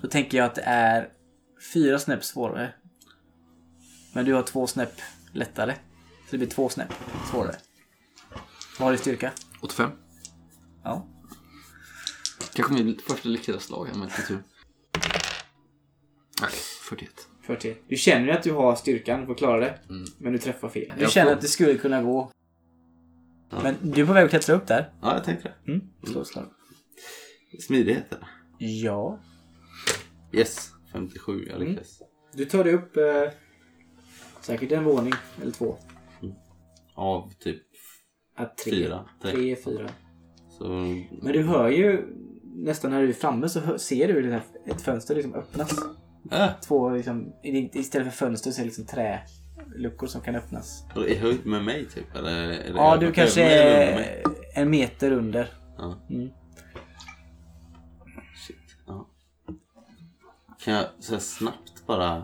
Speaker 1: Då tänker jag att det är fyra snäpp svårare. Men du har två snäpp lättare. Så det blir två snäpp svårare. Vad har du i styrka?
Speaker 4: 85.
Speaker 1: Ja.
Speaker 4: Kanske mitt första lyckade slag här med lite tur. Nej, 41.
Speaker 1: 41. Du känner ju att du har styrkan för att klara det. Men du träffar fel. Du
Speaker 4: Jag
Speaker 1: känner
Speaker 4: får-
Speaker 1: att det skulle kunna gå. Men du är på väg att klättra upp där.
Speaker 5: Ja, jag tänkte det.
Speaker 1: Mm. Slå ett slag.
Speaker 5: Smidighet eller?
Speaker 1: Ja.
Speaker 5: Yes. 57, jag lyckas.
Speaker 1: Du tar dig upp eh, säkert en våning eller två.
Speaker 5: Av typ
Speaker 1: Äh, tre.
Speaker 5: Fyra. Tre.
Speaker 1: Tre, fyra.
Speaker 5: så...
Speaker 1: Men du hör ju nästan när du är framme så hör, ser du hur det här, ett fönster liksom öppnas.
Speaker 5: Äh,
Speaker 1: Två liksom, i- istället för fönster så är det liksom träluckor som kan öppnas.
Speaker 5: och det är höjd med mig typ? Eller, eller
Speaker 1: Ja,
Speaker 5: över-
Speaker 1: du kanske
Speaker 5: över mig eller under mig?
Speaker 1: är en meter under.
Speaker 5: Ja.
Speaker 1: Mm.
Speaker 5: Shit. Ja. Kan jag så här snabbt bara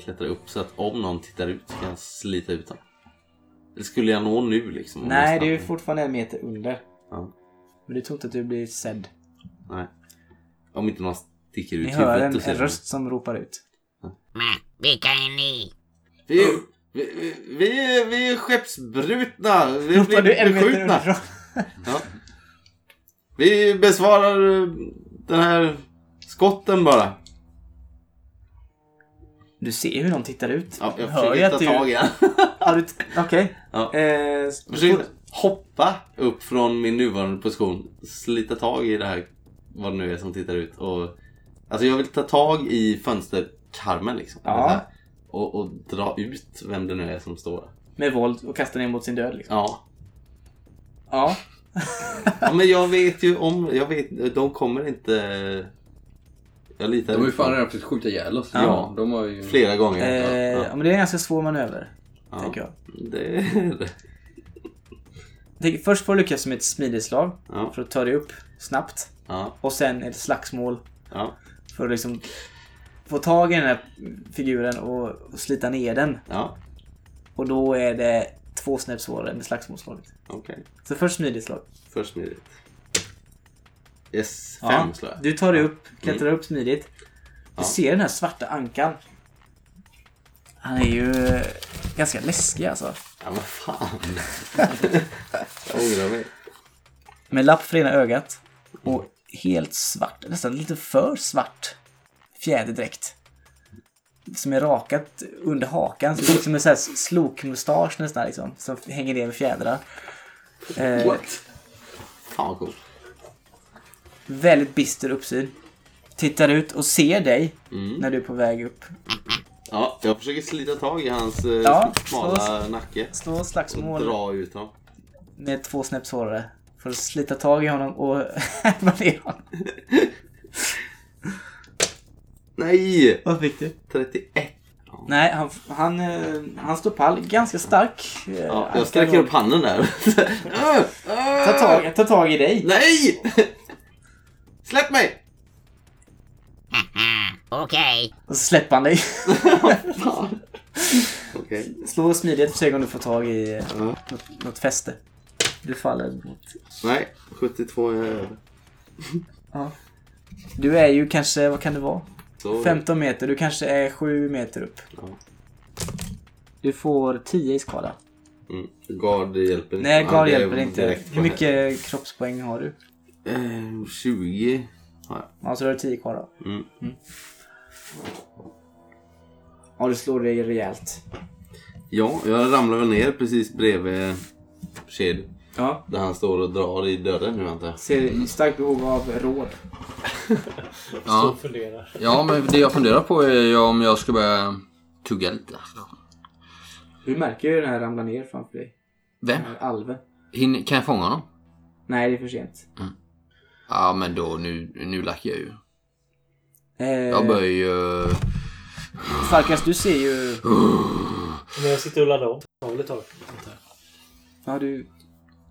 Speaker 5: klättra upp så att om någon tittar ut så kan jag slita ut honom? Eller skulle jag nå nu liksom? om
Speaker 1: Nej,
Speaker 5: jag
Speaker 1: du är
Speaker 5: snabbt-
Speaker 1: fortfarande en meter under.
Speaker 5: Ja.
Speaker 1: Men du tror inte att du blir sedd.
Speaker 5: Nej. Om inte någon sticker ut
Speaker 1: Ni hör en,
Speaker 5: och
Speaker 1: en
Speaker 5: ser
Speaker 1: röst som ropar ut.
Speaker 7: Vilka är ni?
Speaker 5: mig. Vi är, vi, vi- vi, är- vi är skeppsbrutna! Vi
Speaker 1: Ropar
Speaker 5: blir
Speaker 1: du en meter
Speaker 5: beskjutna!
Speaker 1: underifrån?
Speaker 5: Ja. Vi besvarar eh, den här skotten bara.
Speaker 1: Du ser hur de tittar ut.
Speaker 5: Ja, jag
Speaker 1: Hör ju
Speaker 5: försöker
Speaker 1: att
Speaker 5: ta
Speaker 1: du-
Speaker 5: tag i den.
Speaker 1: Ja, du- Okej.
Speaker 5: Ja.
Speaker 1: Eh, s-
Speaker 5: Jag försöker hoppa upp från min nuvarande position. Slita tag i det här, vad det nu är som tittar ut. Och, alltså jag vill ta tag i fönsterkarmen liksom.
Speaker 1: Ja.
Speaker 5: Det här. Och, och dra ut vem det nu är som står där.
Speaker 1: Med våld och kastar ner mot sin död liksom.
Speaker 5: Ja.
Speaker 1: Ja.
Speaker 5: ja, men jag vet ju om... Jag vet, de kommer inte... Jag litar
Speaker 4: De har ju
Speaker 5: inte
Speaker 4: fan
Speaker 5: på dem.
Speaker 4: redan försökt skjuta ihjäl oss.
Speaker 5: Ja.
Speaker 4: De har ju...
Speaker 5: Flera gånger.
Speaker 1: Eh,
Speaker 5: ja,
Speaker 1: ja,
Speaker 5: ja,
Speaker 1: men det är en ganska svår manöver.
Speaker 5: ja.
Speaker 1: Tänker jag.
Speaker 5: Det är det.
Speaker 1: Jag tänker, Först får du lyckas med ett smideslag
Speaker 5: Ja,
Speaker 1: för att ta dig upp snabbt.
Speaker 5: ja,
Speaker 1: Och sen ett slagsmål
Speaker 5: ja,
Speaker 1: för att liksom få tag i den här figuren och och slita ner den.
Speaker 5: ja.
Speaker 1: Och då är det två snäpp svårare med slagsmålslaget.
Speaker 5: Okej.
Speaker 1: Så först smideslag.
Speaker 5: Först smidigt. Yes, fem
Speaker 1: Ja,
Speaker 5: slår jag.
Speaker 1: du tar dig upp, klättrar upp smidigt. Du
Speaker 5: Ja.
Speaker 1: ser den här svarta ankan. Han är ju eh, ganska läskig alltså.
Speaker 5: Ja, vad fan. jag ångrar mig.
Speaker 1: Med lapp för ena ögat och helt svart, nästan lite för svart fjäderdräkt. Som är rakat under hakan, så det är liksom en sån här slokmustasch nästan liksom, som hänger ner med fjädrar. Eh,
Speaker 5: Fan vad coolt.
Speaker 1: väldigt bister uppsyn. Tittar ut och ser dig
Speaker 5: Mm.
Speaker 1: när du är på väg upp.
Speaker 5: Ja, jag försöker slita tag i hans eh,
Speaker 1: Ja,
Speaker 5: smala nacke
Speaker 1: Slå
Speaker 5: och
Speaker 1: slagsmål.
Speaker 5: dra ut honom.
Speaker 1: med två snäpp svårare. För att slita tag i honom och häva ner honom.
Speaker 5: Nej!
Speaker 1: Vad fick du?
Speaker 5: 31.
Speaker 1: Nej, han, han, eh, han står pall. Ganska stark. eh,
Speaker 5: Ja,
Speaker 1: ankan
Speaker 5: jag sträcker
Speaker 1: och-
Speaker 5: upp handen där. Äh, äh,
Speaker 1: Ta tag, ta tag i dig.
Speaker 5: Nej! Släpp mig!
Speaker 7: Äh, Okej.
Speaker 1: Och så släpper han dig.
Speaker 5: Okej.
Speaker 1: Slå smidigt för att se om du får tag i eh, något, något fäste. Du faller mot...
Speaker 5: Nej, 72 är över.
Speaker 1: Du är ju kanske, vad kan det vara?
Speaker 5: Så.
Speaker 1: 15 meter. Du kanske är 7 meter upp.
Speaker 5: Ja.
Speaker 1: Du får 10 i skada.
Speaker 5: Mm. Guard hjälper inte.
Speaker 1: Nej,
Speaker 5: Ja,
Speaker 1: Gar
Speaker 5: det är
Speaker 1: hjälper inte.
Speaker 5: direkt på
Speaker 1: Hur mycket kroppspoäng har du?
Speaker 5: här. Eh, 20. Ja,
Speaker 1: Ja, så du har 10 kvar då.
Speaker 5: Mm.
Speaker 1: Ja, du slår dig rejält.
Speaker 5: Ja, jag ramlar väl ner precis bredvid Shed.
Speaker 1: Ja.
Speaker 5: Där han står och drar i dörren nu antar jag.
Speaker 1: Ser starkt behov av råd.
Speaker 4: Ja.
Speaker 6: Funderar.
Speaker 4: ja, men det jag funderar på är ju om jag ska börja tugga lite.
Speaker 1: Du märker ju den här ramla ner framför dig.
Speaker 4: Vem?
Speaker 1: Den här alven.
Speaker 4: Hinner, kan jag fånga honom?
Speaker 1: Nej, det är för sent.
Speaker 4: Ja, men då nu, nu lackar jag ju.
Speaker 1: Eh,
Speaker 4: Jag börjar ju...
Speaker 1: Falkas, du ser ju...
Speaker 6: Men jag sitter och laddar om. Ja, väl ett tag.
Speaker 1: Ja, du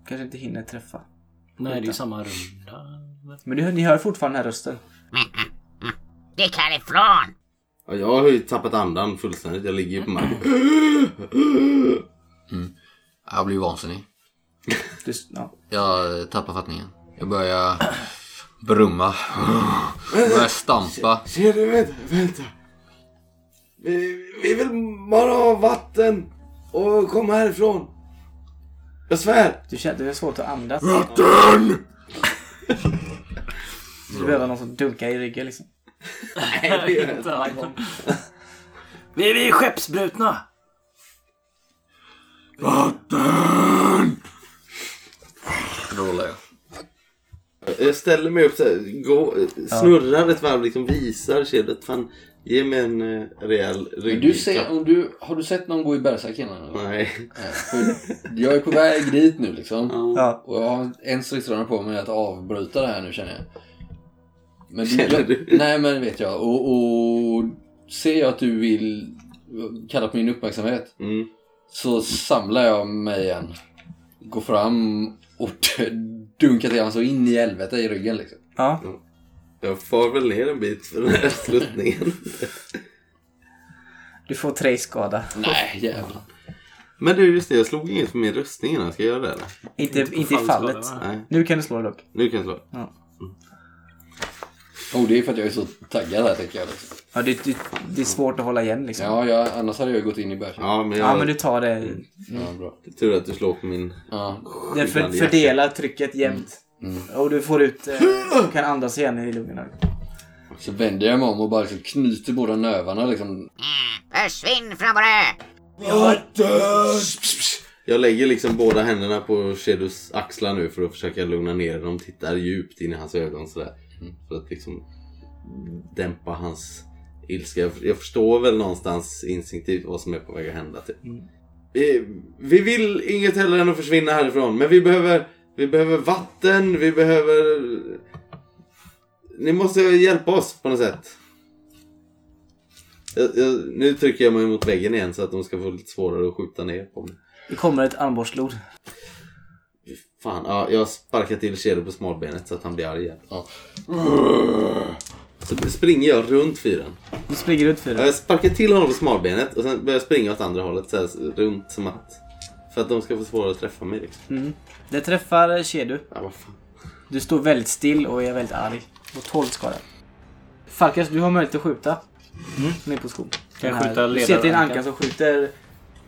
Speaker 1: kanske inte hinner träffa.
Speaker 3: Nej, det är ju samma runda.
Speaker 1: Men du, ni hör fortfarande den här rösten.
Speaker 7: äh, Stick mm. härifrån!
Speaker 5: Ja, jag har ju tappat andan fullständigt. Jag ligger ju på marken.
Speaker 4: Jag blir vansinnig.
Speaker 1: Du, ja.
Speaker 4: Jag tappar fattningen. Jag börjar brumma. Jag börjar stampa.
Speaker 5: Shed, vänta, vänta.
Speaker 2: Vi, vi vill bara ha vatten och komma härifrån. Jag svär.
Speaker 1: Du känner, det är svårt att andas.
Speaker 2: Vatten!
Speaker 1: Du behöver någon som dunkar i ryggen liksom.
Speaker 3: Vi vi är skeppsbrutna!
Speaker 4: Rollar jag.
Speaker 5: Jag ställer mig upp så här, gå, snurrar ett varv, liksom visar kedjet. Fan, ge mig en eh, rejäl rygg.
Speaker 8: Du ser, om du, har du sett någon gå i bärsärk innan? eller?
Speaker 5: Nej.
Speaker 8: Nej, för Jag är på väg dit nu liksom.
Speaker 1: Ja.
Speaker 8: Och jag har en stridsrunna på mig att avbryta det här nu känner jag. Men
Speaker 5: Känner du?
Speaker 8: Nej men vet jag. Och, och ser jag att du vill kalla på min uppmärksamhet
Speaker 5: Mm.
Speaker 8: så samlar jag mig igen. Går fram och dunkar till honom så in i helvete i ryggen liksom.
Speaker 1: Ja.
Speaker 5: Jag far väl ner en bit för den här sluttningen.
Speaker 1: Du får tre i skada.
Speaker 8: Nej jävlar.
Speaker 5: Men du, just det. Jag slog inget för min rustning innan. Ska jag göra det eller?
Speaker 1: Inte, inte i fallet.
Speaker 5: Nej.
Speaker 1: Nu kan du slå dock.
Speaker 5: Nu kan jag slå.
Speaker 8: Oh det är för att jag är så taggad här tänker jag. Liksom.
Speaker 1: Ja, det, det, det är svårt att hålla igen liksom.
Speaker 8: Ja jag, annars hade jag ju gått in i bärsärk.
Speaker 5: Ja, men jag... mm,
Speaker 1: Ja, men du tar det.
Speaker 8: Ja, bra.
Speaker 5: Tur att du slår på min...
Speaker 8: Ja.
Speaker 1: Det för,
Speaker 5: skyddande Mm, jacka.
Speaker 1: fördelar trycket jämnt. Och du får ut... Eh, du kan andas igen i lungorna.
Speaker 8: Så vänder jag mig om och bara liksom knyter båda növarna liksom.
Speaker 7: Mm, Försvinn från vår ö!
Speaker 5: Jag lägger liksom båda händerna på Shedus axlar nu för att försöka lugna ner dem. Tittar djupt in i hans ögon sådär. För att liksom dämpa hans ilska. Jag- Jag förstår väl någonstans instinktivt vad som är på väg att hända. Typ. Vi, vi vill inget hellre än att försvinna härifrån. Men vi behöver, vi behöver vatten, vi behöver... Ni måste hjälpa oss på något sätt. Jag, jag, nu trycker jag mig mot väggen igen så att de ska få lite svårare att skjuta ner på mig.
Speaker 1: Det kommer ett armborstlod.
Speaker 5: Fan, ja, jag sparkar till Kjell på smalbenet så att han blir arg igen.
Speaker 8: Ja.
Speaker 5: Så springer jag runt fyren.
Speaker 1: Du springer ut för
Speaker 5: Ja,
Speaker 1: det.
Speaker 5: Jag sparkar till honom på smalbenet och sen börjar jag springa åt andra hållet. Så här, runt som att... För att de ska få svårare att träffa mig liksom.
Speaker 1: Det träffar Shedu.
Speaker 5: Ja, vad fan.
Speaker 1: Du står väldigt still och är väldigt arg. Och 12 skada. Falkas, du har möjlighet att skjuta.
Speaker 5: Mm.
Speaker 1: Som är på skog.
Speaker 3: Kan jag
Speaker 1: Den här-
Speaker 3: skjuta
Speaker 1: Du ser till en
Speaker 3: ledarankan?
Speaker 1: anka som skjuter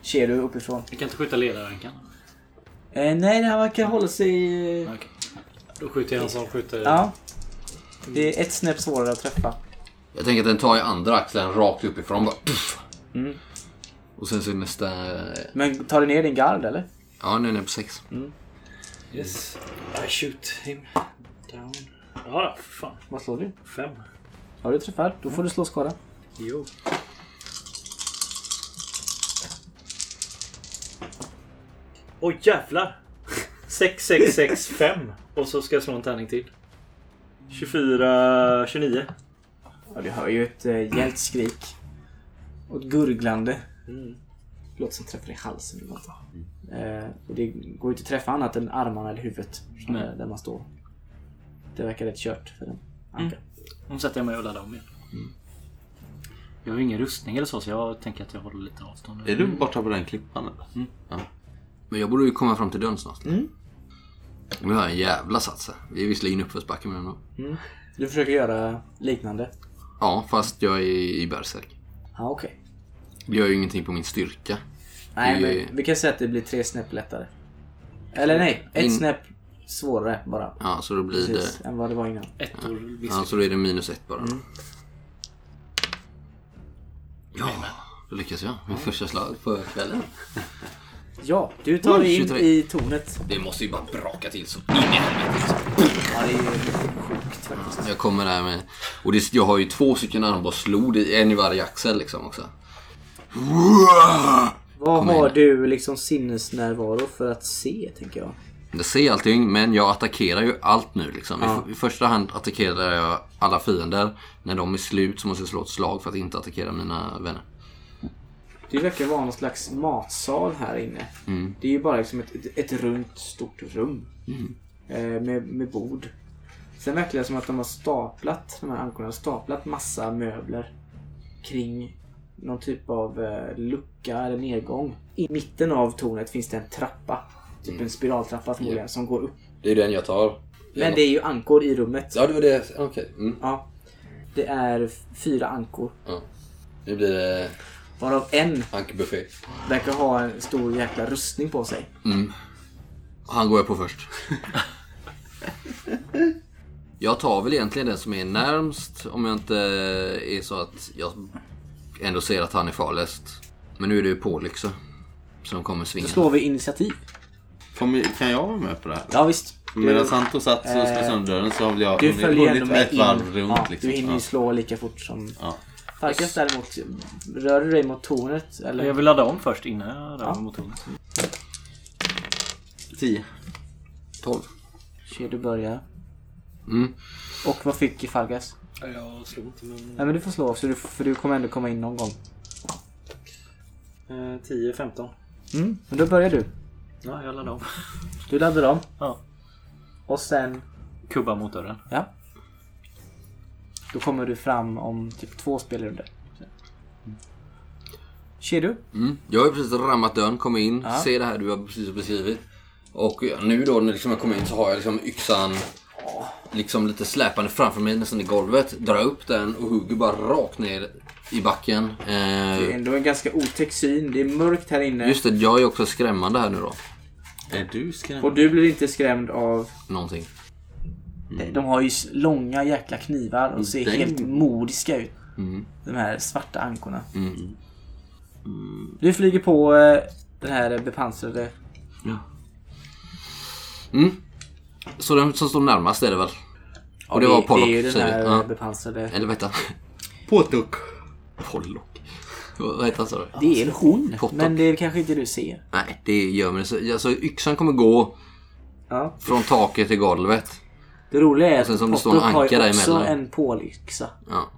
Speaker 1: Shedu uppifrån.
Speaker 3: Jag kan inte skjuta ledarankan.
Speaker 1: Eh, nej, han verkar hålla sig... eh,
Speaker 3: Okej. Då skjuter jag en som skjuter...
Speaker 1: Ja. Det är ett snäpp svårare att träffa.
Speaker 4: Jag tänker att den tar i andra axeln rakt uppifrån bara. Tuff. Och sen så är nästa...
Speaker 1: Men tar du ner din gard eller?
Speaker 4: Ja, nu är den på sex.
Speaker 6: Yes. I shoot him down. Ja, för fan.
Speaker 1: Vad slår du?
Speaker 6: Fem.
Speaker 1: Har du träffat? Då får du slå skada.
Speaker 6: Jo. Åh jävlar! 6, 6, 6, 5. Och så ska jag slå en tärning till. 24, 29.
Speaker 1: Ja, du hör ju ett eh, hjält skrik. Och ett gurglande. Mm. Låter som träffar i halsen eller något. Eh, och det går ju inte att träffa annat än armarna eller huvudet. Som är där man står. Det verkar rätt kört för den ankan.
Speaker 3: Nu sätter jag mig och laddar om igen. Jag har ju ingen rustning eller så, så jag tänker att jag håller lite avstånd.
Speaker 5: Är du borta på den klippan eller?
Speaker 4: Men jag borde ju komma fram till dörren snart. Vi har en jävla sats här. Vi är visserligen i uppförsbacke men ändå.
Speaker 1: Du försöker göra liknande?
Speaker 4: Ja, fast jag är i bärsärk.
Speaker 1: Ja, okej.
Speaker 4: Det gör ju ingenting på min styrka.
Speaker 1: Nej,
Speaker 4: Det-
Speaker 1: men vi kan säga att det blir tre snäpp lättare. Eller nej, ett
Speaker 4: In-
Speaker 1: snäpp svårare bara.
Speaker 4: Mm. Ja, så då blir
Speaker 1: Precis,
Speaker 4: det...
Speaker 1: än vad det var innan.
Speaker 3: Ett år visst.
Speaker 4: Ja, så då är det minus ett bara. Ja, då lyckas jag. Min första slag på kvällen.
Speaker 1: Ja, du tar dig in
Speaker 4: 23.
Speaker 1: i tornet.
Speaker 4: Det måste ju bara braka till så in i helvete.
Speaker 1: Ja, det är ju sjukt faktiskt.
Speaker 4: Jag kommer där med... Och det, jag har ju två stycken armborstslod, i- en i varje axel liksom också.
Speaker 1: Vad
Speaker 4: Kom in.
Speaker 1: har du liksom sinnesnärvaro för att se, tänker jag?
Speaker 4: Jag ser allting, men jag attackerar ju allt nu liksom. I, f- I första hand attackerar jag alla fiender. När de är slut så måste jag slå ett slag för att inte attackera mina vänner.
Speaker 1: Det verkar vara någon slags matsal här inne. Det är ju bara liksom ett, ett, ett runt, stort rum. Eh, med, med bord. Sen verkar det som att de har staplat, de här ankorna har staplat massa möbler kring någon typ av eh, lucka eller nedgång. I mitten av tornet finns det en trappa. Typ en spiraltrappa förmodligen som går upp.
Speaker 8: Det är den jag tar.
Speaker 1: Men det är ju ankor i rummet.
Speaker 8: Ja, det var det. Okej. Mm.
Speaker 1: Ja. Det är f- fyra ankor.
Speaker 8: Ja. Nu blir det
Speaker 1: Varav en
Speaker 8: ankebuffé.
Speaker 1: verkar ha en stor jäkla rustning på sig.
Speaker 4: Han går jag på först. jag tar väl egentligen den som är närmst om jag inte är så att jag ändå ser att han är farligast. Men nu är det ju Pålyxe som kommer
Speaker 1: Då
Speaker 4: svinga.
Speaker 1: slår vi initiativ.
Speaker 5: Kom, i- kan jag vara med på det här?
Speaker 1: Ja visst.
Speaker 5: Medan Santo satt och slog
Speaker 1: eh,
Speaker 5: sönder dörren så alltså, har väl jag
Speaker 1: Du
Speaker 5: hunnit
Speaker 1: följer
Speaker 5: gå
Speaker 1: ändå
Speaker 5: lite
Speaker 1: med
Speaker 5: ett
Speaker 1: in.
Speaker 5: varv runt.
Speaker 1: ja,
Speaker 5: liksom.
Speaker 1: Du hinner ju
Speaker 5: ja.
Speaker 1: slå lika fort som...
Speaker 5: Ja.
Speaker 1: Farkas däremot, rör du dig mot tornet? Eller?
Speaker 3: Jag vill ladda om först innan jag rör mig mot tornet.
Speaker 5: Tio.
Speaker 4: 12.
Speaker 1: Okej, du börjar.
Speaker 4: Mm.
Speaker 1: Och vad fick Farkas?
Speaker 3: Jag slog inte men...
Speaker 1: Nej men du får slå så du, för du kommer ändå komma in någon gång.
Speaker 6: Eh,
Speaker 3: 10, 15.
Speaker 1: Mm. Men då börjar du.
Speaker 3: Ja, jag laddar om.
Speaker 1: Du laddar dem.
Speaker 3: Ja.
Speaker 1: Och sen
Speaker 3: Kubba mot dörren.
Speaker 1: Ja. Då kommer du fram om typ två spelrundor. Ser du?
Speaker 4: Mm. Jag har ju precis rammat dörren, kommer in,
Speaker 1: Ja.
Speaker 4: ser det här du har precis beskrivit.
Speaker 8: Och nu då när liksom jag kommer in så har jag liksom yxan
Speaker 4: Liksom lite släpande framför mig nästan i golvet. Drar upp den och hugger bara rakt ner i backen.
Speaker 1: Det är
Speaker 4: Eh,
Speaker 1: ändå en ganska otäck syn. Det är mörkt här inne.
Speaker 4: just det, jag är också skrämmande här nu då.
Speaker 5: Är du skrämd?
Speaker 1: Och du blir inte skrämd av...
Speaker 4: Någonting.
Speaker 1: De har ju s- långa jäkla knivar och ser
Speaker 5: Den-
Speaker 1: helt modiska ut.
Speaker 4: Mm.
Speaker 1: De här svarta ankorna.
Speaker 4: Mm.
Speaker 1: Du flyger på eh, den här bepansrade...
Speaker 4: Mm. Så den som står närmast är det väl? Och det var Pollock,
Speaker 1: Det är ju den
Speaker 4: säger vi.
Speaker 1: här
Speaker 4: Ja.
Speaker 1: bepansrade...
Speaker 4: Eller vad heter han?
Speaker 5: Påtuck.
Speaker 4: Pollock. Vad heter han sa du?
Speaker 1: Det är en hon,
Speaker 4: Hotdog.
Speaker 1: men det är kanske inte du ser.
Speaker 4: Nej, det gör mig så. Alltså yxan kommer gå
Speaker 1: Ja.
Speaker 4: från taket till golvet.
Speaker 1: Det roliga är att
Speaker 4: sen Alltså, som det står
Speaker 1: Pottock
Speaker 4: en
Speaker 1: har
Speaker 4: anka
Speaker 1: ju
Speaker 4: där
Speaker 1: också
Speaker 4: emellan.
Speaker 1: en pålyxa.
Speaker 4: Ja.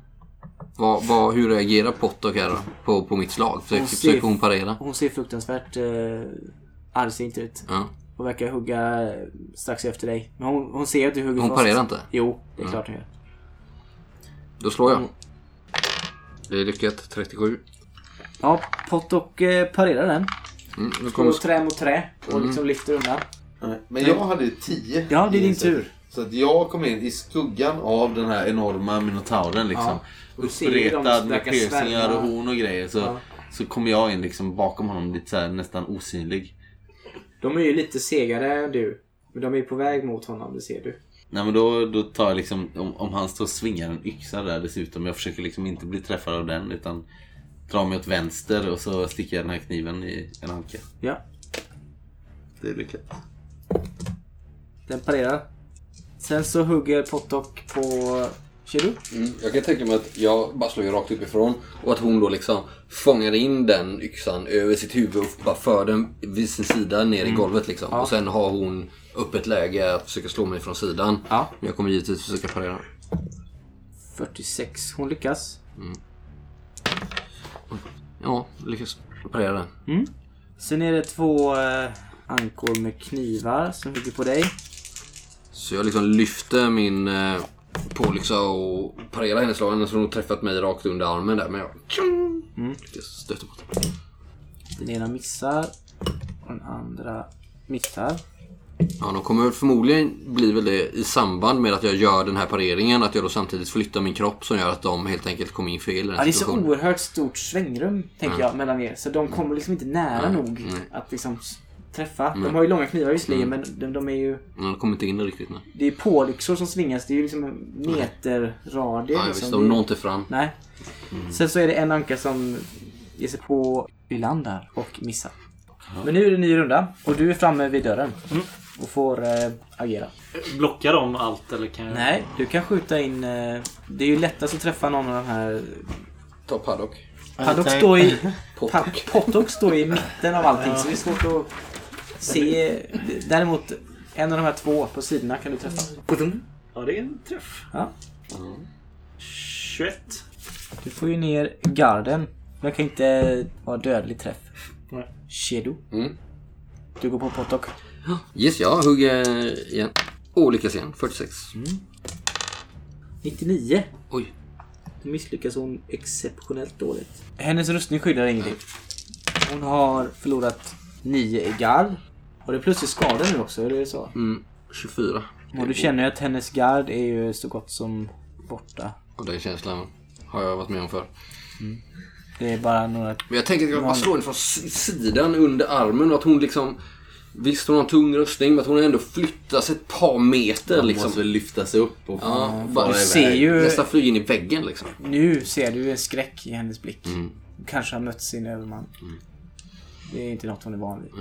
Speaker 4: Vad, vad, hur reagerar Pottock här då? På, på mitt slag? Försöker,
Speaker 1: Hon ser-
Speaker 4: försöker hon parera?
Speaker 1: Hon ser fruktansvärt eh, argsint ut.
Speaker 4: Ja.
Speaker 1: Hon verkar hugga eh, strax efter dig. Men hon, hon ser att du hugger
Speaker 4: Hon
Speaker 1: fast.
Speaker 4: parerar inte?
Speaker 1: Jo, det är klart hon gör.
Speaker 4: Då slår jag. Det är lyckat. Mm, 37.
Speaker 1: Ja, Pottock eh, parerar den.
Speaker 4: Mm, nu
Speaker 1: Går
Speaker 4: kommer Mm. sk-
Speaker 1: trä mot trä och liksom lyfter undan.
Speaker 5: Men jag hade tio.
Speaker 1: Ja, det är
Speaker 5: i
Speaker 1: din
Speaker 5: initiativ.
Speaker 1: tur.
Speaker 5: Så att jag kom in i skuggan av den här enorma minotauren liksom.
Speaker 1: Ja. Du ser ju dem
Speaker 5: Uppretad med
Speaker 1: verkar
Speaker 5: piercingar
Speaker 1: svärma.
Speaker 5: och horn och grejer. Så,
Speaker 1: Ja.
Speaker 5: så kom jag in liksom bakom honom lite så här, nästan osynlig.
Speaker 1: De är ju lite segare än du. Men de är på väg mot honom, det ser du.
Speaker 5: Nej men då, då tar jag liksom, om, om han står och svingar en yxa där dessutom. Jag försöker liksom inte bli träffad av den utan dra mig åt vänster och så sticker jag den här kniven i en anka.
Speaker 1: Ja,
Speaker 5: Det är lyckat.
Speaker 1: den parerar. Sen så hugger Pottock på Shiru.
Speaker 8: Mm, Jag kan tänka mig att jag bara slår ju rakt uppifrån och att hon då liksom fångar in den yxan över sitt huvud och bara för den vid sin sida ner i golvet liksom. Och sen har hon öppet läge att försöka slå mig från sidan.
Speaker 1: Ja.
Speaker 4: Jag kommer givetvis försöka parera.
Speaker 1: 46. Hon lyckas.
Speaker 4: Ja, lyckas. Parera den.
Speaker 1: Sen är det två eh, ankor med knivar som hugger på dig.
Speaker 4: Så jag liksom lyfte min eh, pålyxa och parerade hennes slag. Annars hade hon träffat mig rakt under armen där. Men jag lyckas stöta bort.
Speaker 1: Den ena missar och den andra missar.
Speaker 4: Ja, de kommer förmodligen bli väl det i samband med att jag gör den här pareringen. Att jag då samtidigt flyttar min kropp som gör att de helt enkelt kommer in fel i den
Speaker 1: Ja,
Speaker 4: här
Speaker 1: det är så
Speaker 4: situationen.
Speaker 1: oerhört stort svängrum tänker jag mellan er. Så de kommer liksom inte nära
Speaker 4: Nej,
Speaker 1: nog
Speaker 4: nej.
Speaker 1: att liksom s- träffa. De har ju långa knivar visserligen men de, de är ju...
Speaker 4: Ja, de kommer inte in riktigt nu.
Speaker 1: Det är pålyxor som svingas. Det är ju liksom en meterradie.
Speaker 4: Ja, jag
Speaker 1: liksom.
Speaker 4: visste
Speaker 1: Det
Speaker 4: om
Speaker 1: är-
Speaker 4: någon till fram.
Speaker 1: Nej. Sen så är det en anka som ger sig på Ylander och missar. Men nu är det en ny runda och du är framme vid dörren. Och får eh, agera.
Speaker 3: Blockar de allt eller kan jag...
Speaker 1: Nej, du kan skjuta in... Eh, det är ju lättast att träffa någon av de här...
Speaker 8: Ta paddock.
Speaker 1: Paddock står i... Pa- Pottock står i mitten av allting så det är svårt att se. Däremot en av de här två på sidorna kan du träffa.
Speaker 6: Ja, det är en träff.
Speaker 1: Ja.
Speaker 6: 21.
Speaker 1: Du får ju ner garden. Den kan inte vara dödlig träff.
Speaker 6: Nej.
Speaker 1: Shedo.
Speaker 8: Mm.
Speaker 1: Du går på Pottock.
Speaker 4: Yes, jag hugger igen. Och lyckas igen. 46.
Speaker 1: Mm. 99.
Speaker 4: Oj.
Speaker 1: Då misslyckas hon exceptionellt dåligt. Hennes rustning skyddar ingenting. Hon har förlorat 9 i gard. Och det är plus i skada nu också, är det så?
Speaker 4: Mm, 24.
Speaker 1: Och du känner ju att hennes gard är ju så gott som borta.
Speaker 4: Och den känslan har jag varit med om förr.
Speaker 1: Det är bara några...
Speaker 4: Men jag tänker att jag bara slår henne från si- sidan under armen och att hon liksom... Visst, hon har en tung rustning, men att hon ändå flyttas ett par meter
Speaker 5: Man
Speaker 4: liksom.
Speaker 5: måste väl lyfta sig upp och
Speaker 4: Ja,
Speaker 5: fara
Speaker 4: bara-
Speaker 1: Du
Speaker 5: iväg.
Speaker 1: ser ju...
Speaker 4: Nästan flyger in i väggen liksom.
Speaker 1: Nu ser du en skräck i hennes blick. Kanske har mött sin överman. Det är inte något hon är van vid.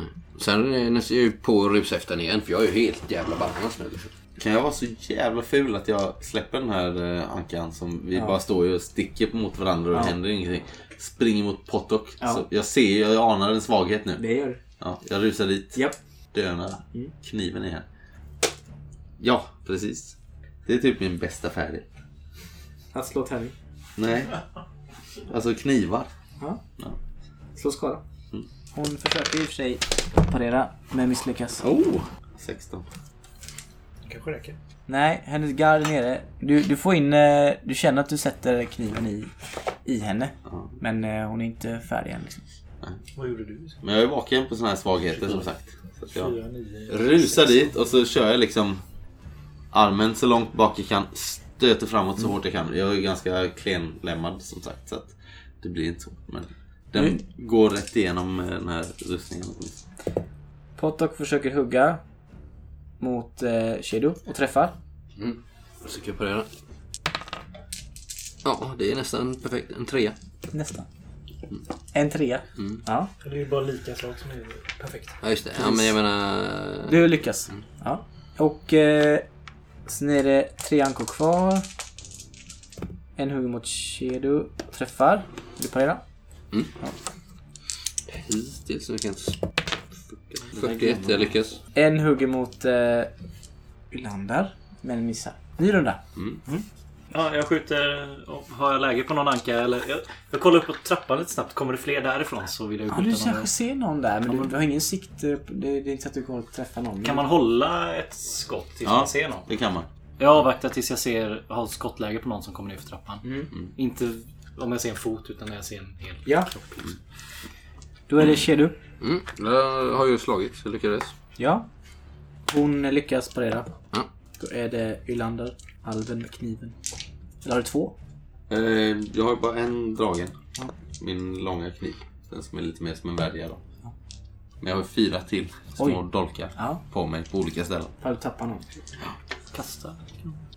Speaker 4: Sen är jag ju på att rusa efter henne igen, för jag är ju helt jävla balans nu. Liksom.
Speaker 5: Kan jag vara så jävla ful att jag släpper den här eh, ankan som vi bara står ju och sticker mot varandra och det händer ingenting. Springer mot Pottock.
Speaker 1: Ja.
Speaker 5: Så jag ser, jag anar en svaghet nu.
Speaker 1: Det Mm. gör du.
Speaker 5: Ja, jag rusar dit.
Speaker 1: Japp.
Speaker 5: Dönar. Kniven är här. Ja, precis. Det är typ min bästa färdighet.
Speaker 1: Att slå tärning.
Speaker 5: Nej. Alltså knivar.
Speaker 1: Ja.
Speaker 5: Ja.
Speaker 1: Slå skada. Hon försöker i och för sig parera, men misslyckas.
Speaker 5: Oh! 16.
Speaker 9: kanske räcker.
Speaker 1: Nej, hennes gard är nere. Du, du får in... eh, Du känner att du sätter kniven i, i henne.
Speaker 5: Ja.
Speaker 1: Men eh, hon är inte färdig än. Liksom.
Speaker 9: Vad gjorde du?
Speaker 5: Men jag är vaken på såna här svagheter som sagt. Så att jag
Speaker 9: 4, 9.
Speaker 5: rusar dit och så kör jag liksom armen så långt bak jag kan. Stöter framåt
Speaker 1: Mm.
Speaker 5: så hårt jag kan. Jag är ganska klenlemmad som sagt. Så att det blir inte så. Men den
Speaker 1: Mm.
Speaker 5: går rätt igenom eh, den här rustningen.
Speaker 1: Pottock försöker hugga mot eh, Shadow och träffar.
Speaker 4: Jag ska parera. Ja, det är nästan perfekt. En trea.
Speaker 1: Nästan. En trea. Ja,
Speaker 9: Det är ju bara lika slag som är perfekt.
Speaker 4: Ja, just det. Ja, men jag menar...
Speaker 1: du lyckas. Ja. Och eh, sen är det tre ankor kvar. En hugger mot Shadow. Träffar. Vill du parera?
Speaker 4: eh, Hittills nu kan jag inte... 41, jag lyckas.
Speaker 1: En hugger mot eh, Ylander. Men missar. Ny runda.
Speaker 9: Ja, jag skjuter. Har jag läge på någon anka? Eller? Jag, jag kollar upp på trappan lite snabbt. Kommer det fler därifrån så vill jag
Speaker 1: Ja, du
Speaker 9: skjuta någon.
Speaker 1: kanske ser någon där men du, du har ingen sikt. eh, på- Det, det är inte så att du kommer att träffa någon.
Speaker 9: Kan man hålla ett skott tills man ser någon?
Speaker 5: det kan man.
Speaker 3: Jag avvaktar tills jag ser, har skottläge på någon som kommer ner för trappan. Inte om jag ser en fot utan när jag ser en hel
Speaker 1: Ja.
Speaker 3: kropp. liksom.
Speaker 1: Då är det Kedu.
Speaker 4: Mm, jag har ju slagit, så jag lyckades.
Speaker 1: Ja. Hon lyckas parera.
Speaker 4: Ja.
Speaker 1: Då är det Ylander, alven med kniven. Eller har du två?
Speaker 5: Eh, Jag har ju bara en dragen. Min långa kniv. Den som är lite mer som en värja då. Men jag har fyra till små
Speaker 1: Oj.
Speaker 5: dolkar
Speaker 1: Ja.
Speaker 5: på mig på olika ställen.
Speaker 1: Har du tappat någon?
Speaker 3: Kasta.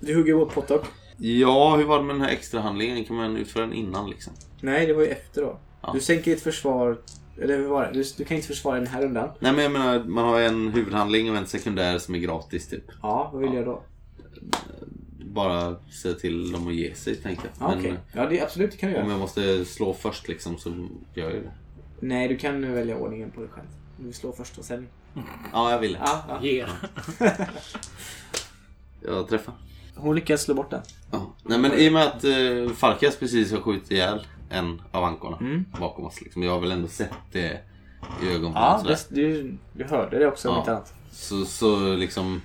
Speaker 1: Du hugger på Pottock.
Speaker 5: Ja, hur var det med den här extra handlingen? Kan man utföra den innan liksom?
Speaker 1: Nej, det var ju efter då.
Speaker 5: Ja.
Speaker 1: Du sänker ditt försvar... Eller hur var det? Du, du kan inte försvara den här rundan.
Speaker 5: Nej men jag menar, man har en huvudhandling och en sekundär som är gratis typ.
Speaker 1: Ja, vad vill jag då?
Speaker 5: Bara säga till dem att ge sig tänker jag.
Speaker 1: Ja,
Speaker 5: Men
Speaker 1: Okej. Ja, det, absolut, det kan du
Speaker 5: eh,
Speaker 1: göra.
Speaker 5: om jag måste slå först liksom så gör jag det.
Speaker 1: Nej, du kan nu välja ordningen på dig själv. Du slår först och sen...
Speaker 5: Ja, jag ville.
Speaker 1: Ja, ja.
Speaker 3: Ger.
Speaker 5: Jag träffar.
Speaker 1: Hon lyckas slå bort den.
Speaker 5: Ja. Nej men i och med att eh, Farkas precis har skjutit ihjäl en av ankorna
Speaker 1: Mm.
Speaker 5: bakom oss. Liksom. Jag har väl ändå sett det i ögonbrynen.
Speaker 1: Ja,
Speaker 5: sådär.
Speaker 1: det, du, du hörde det också om
Speaker 5: Ja.
Speaker 1: inte annat.
Speaker 5: Så, så liksom...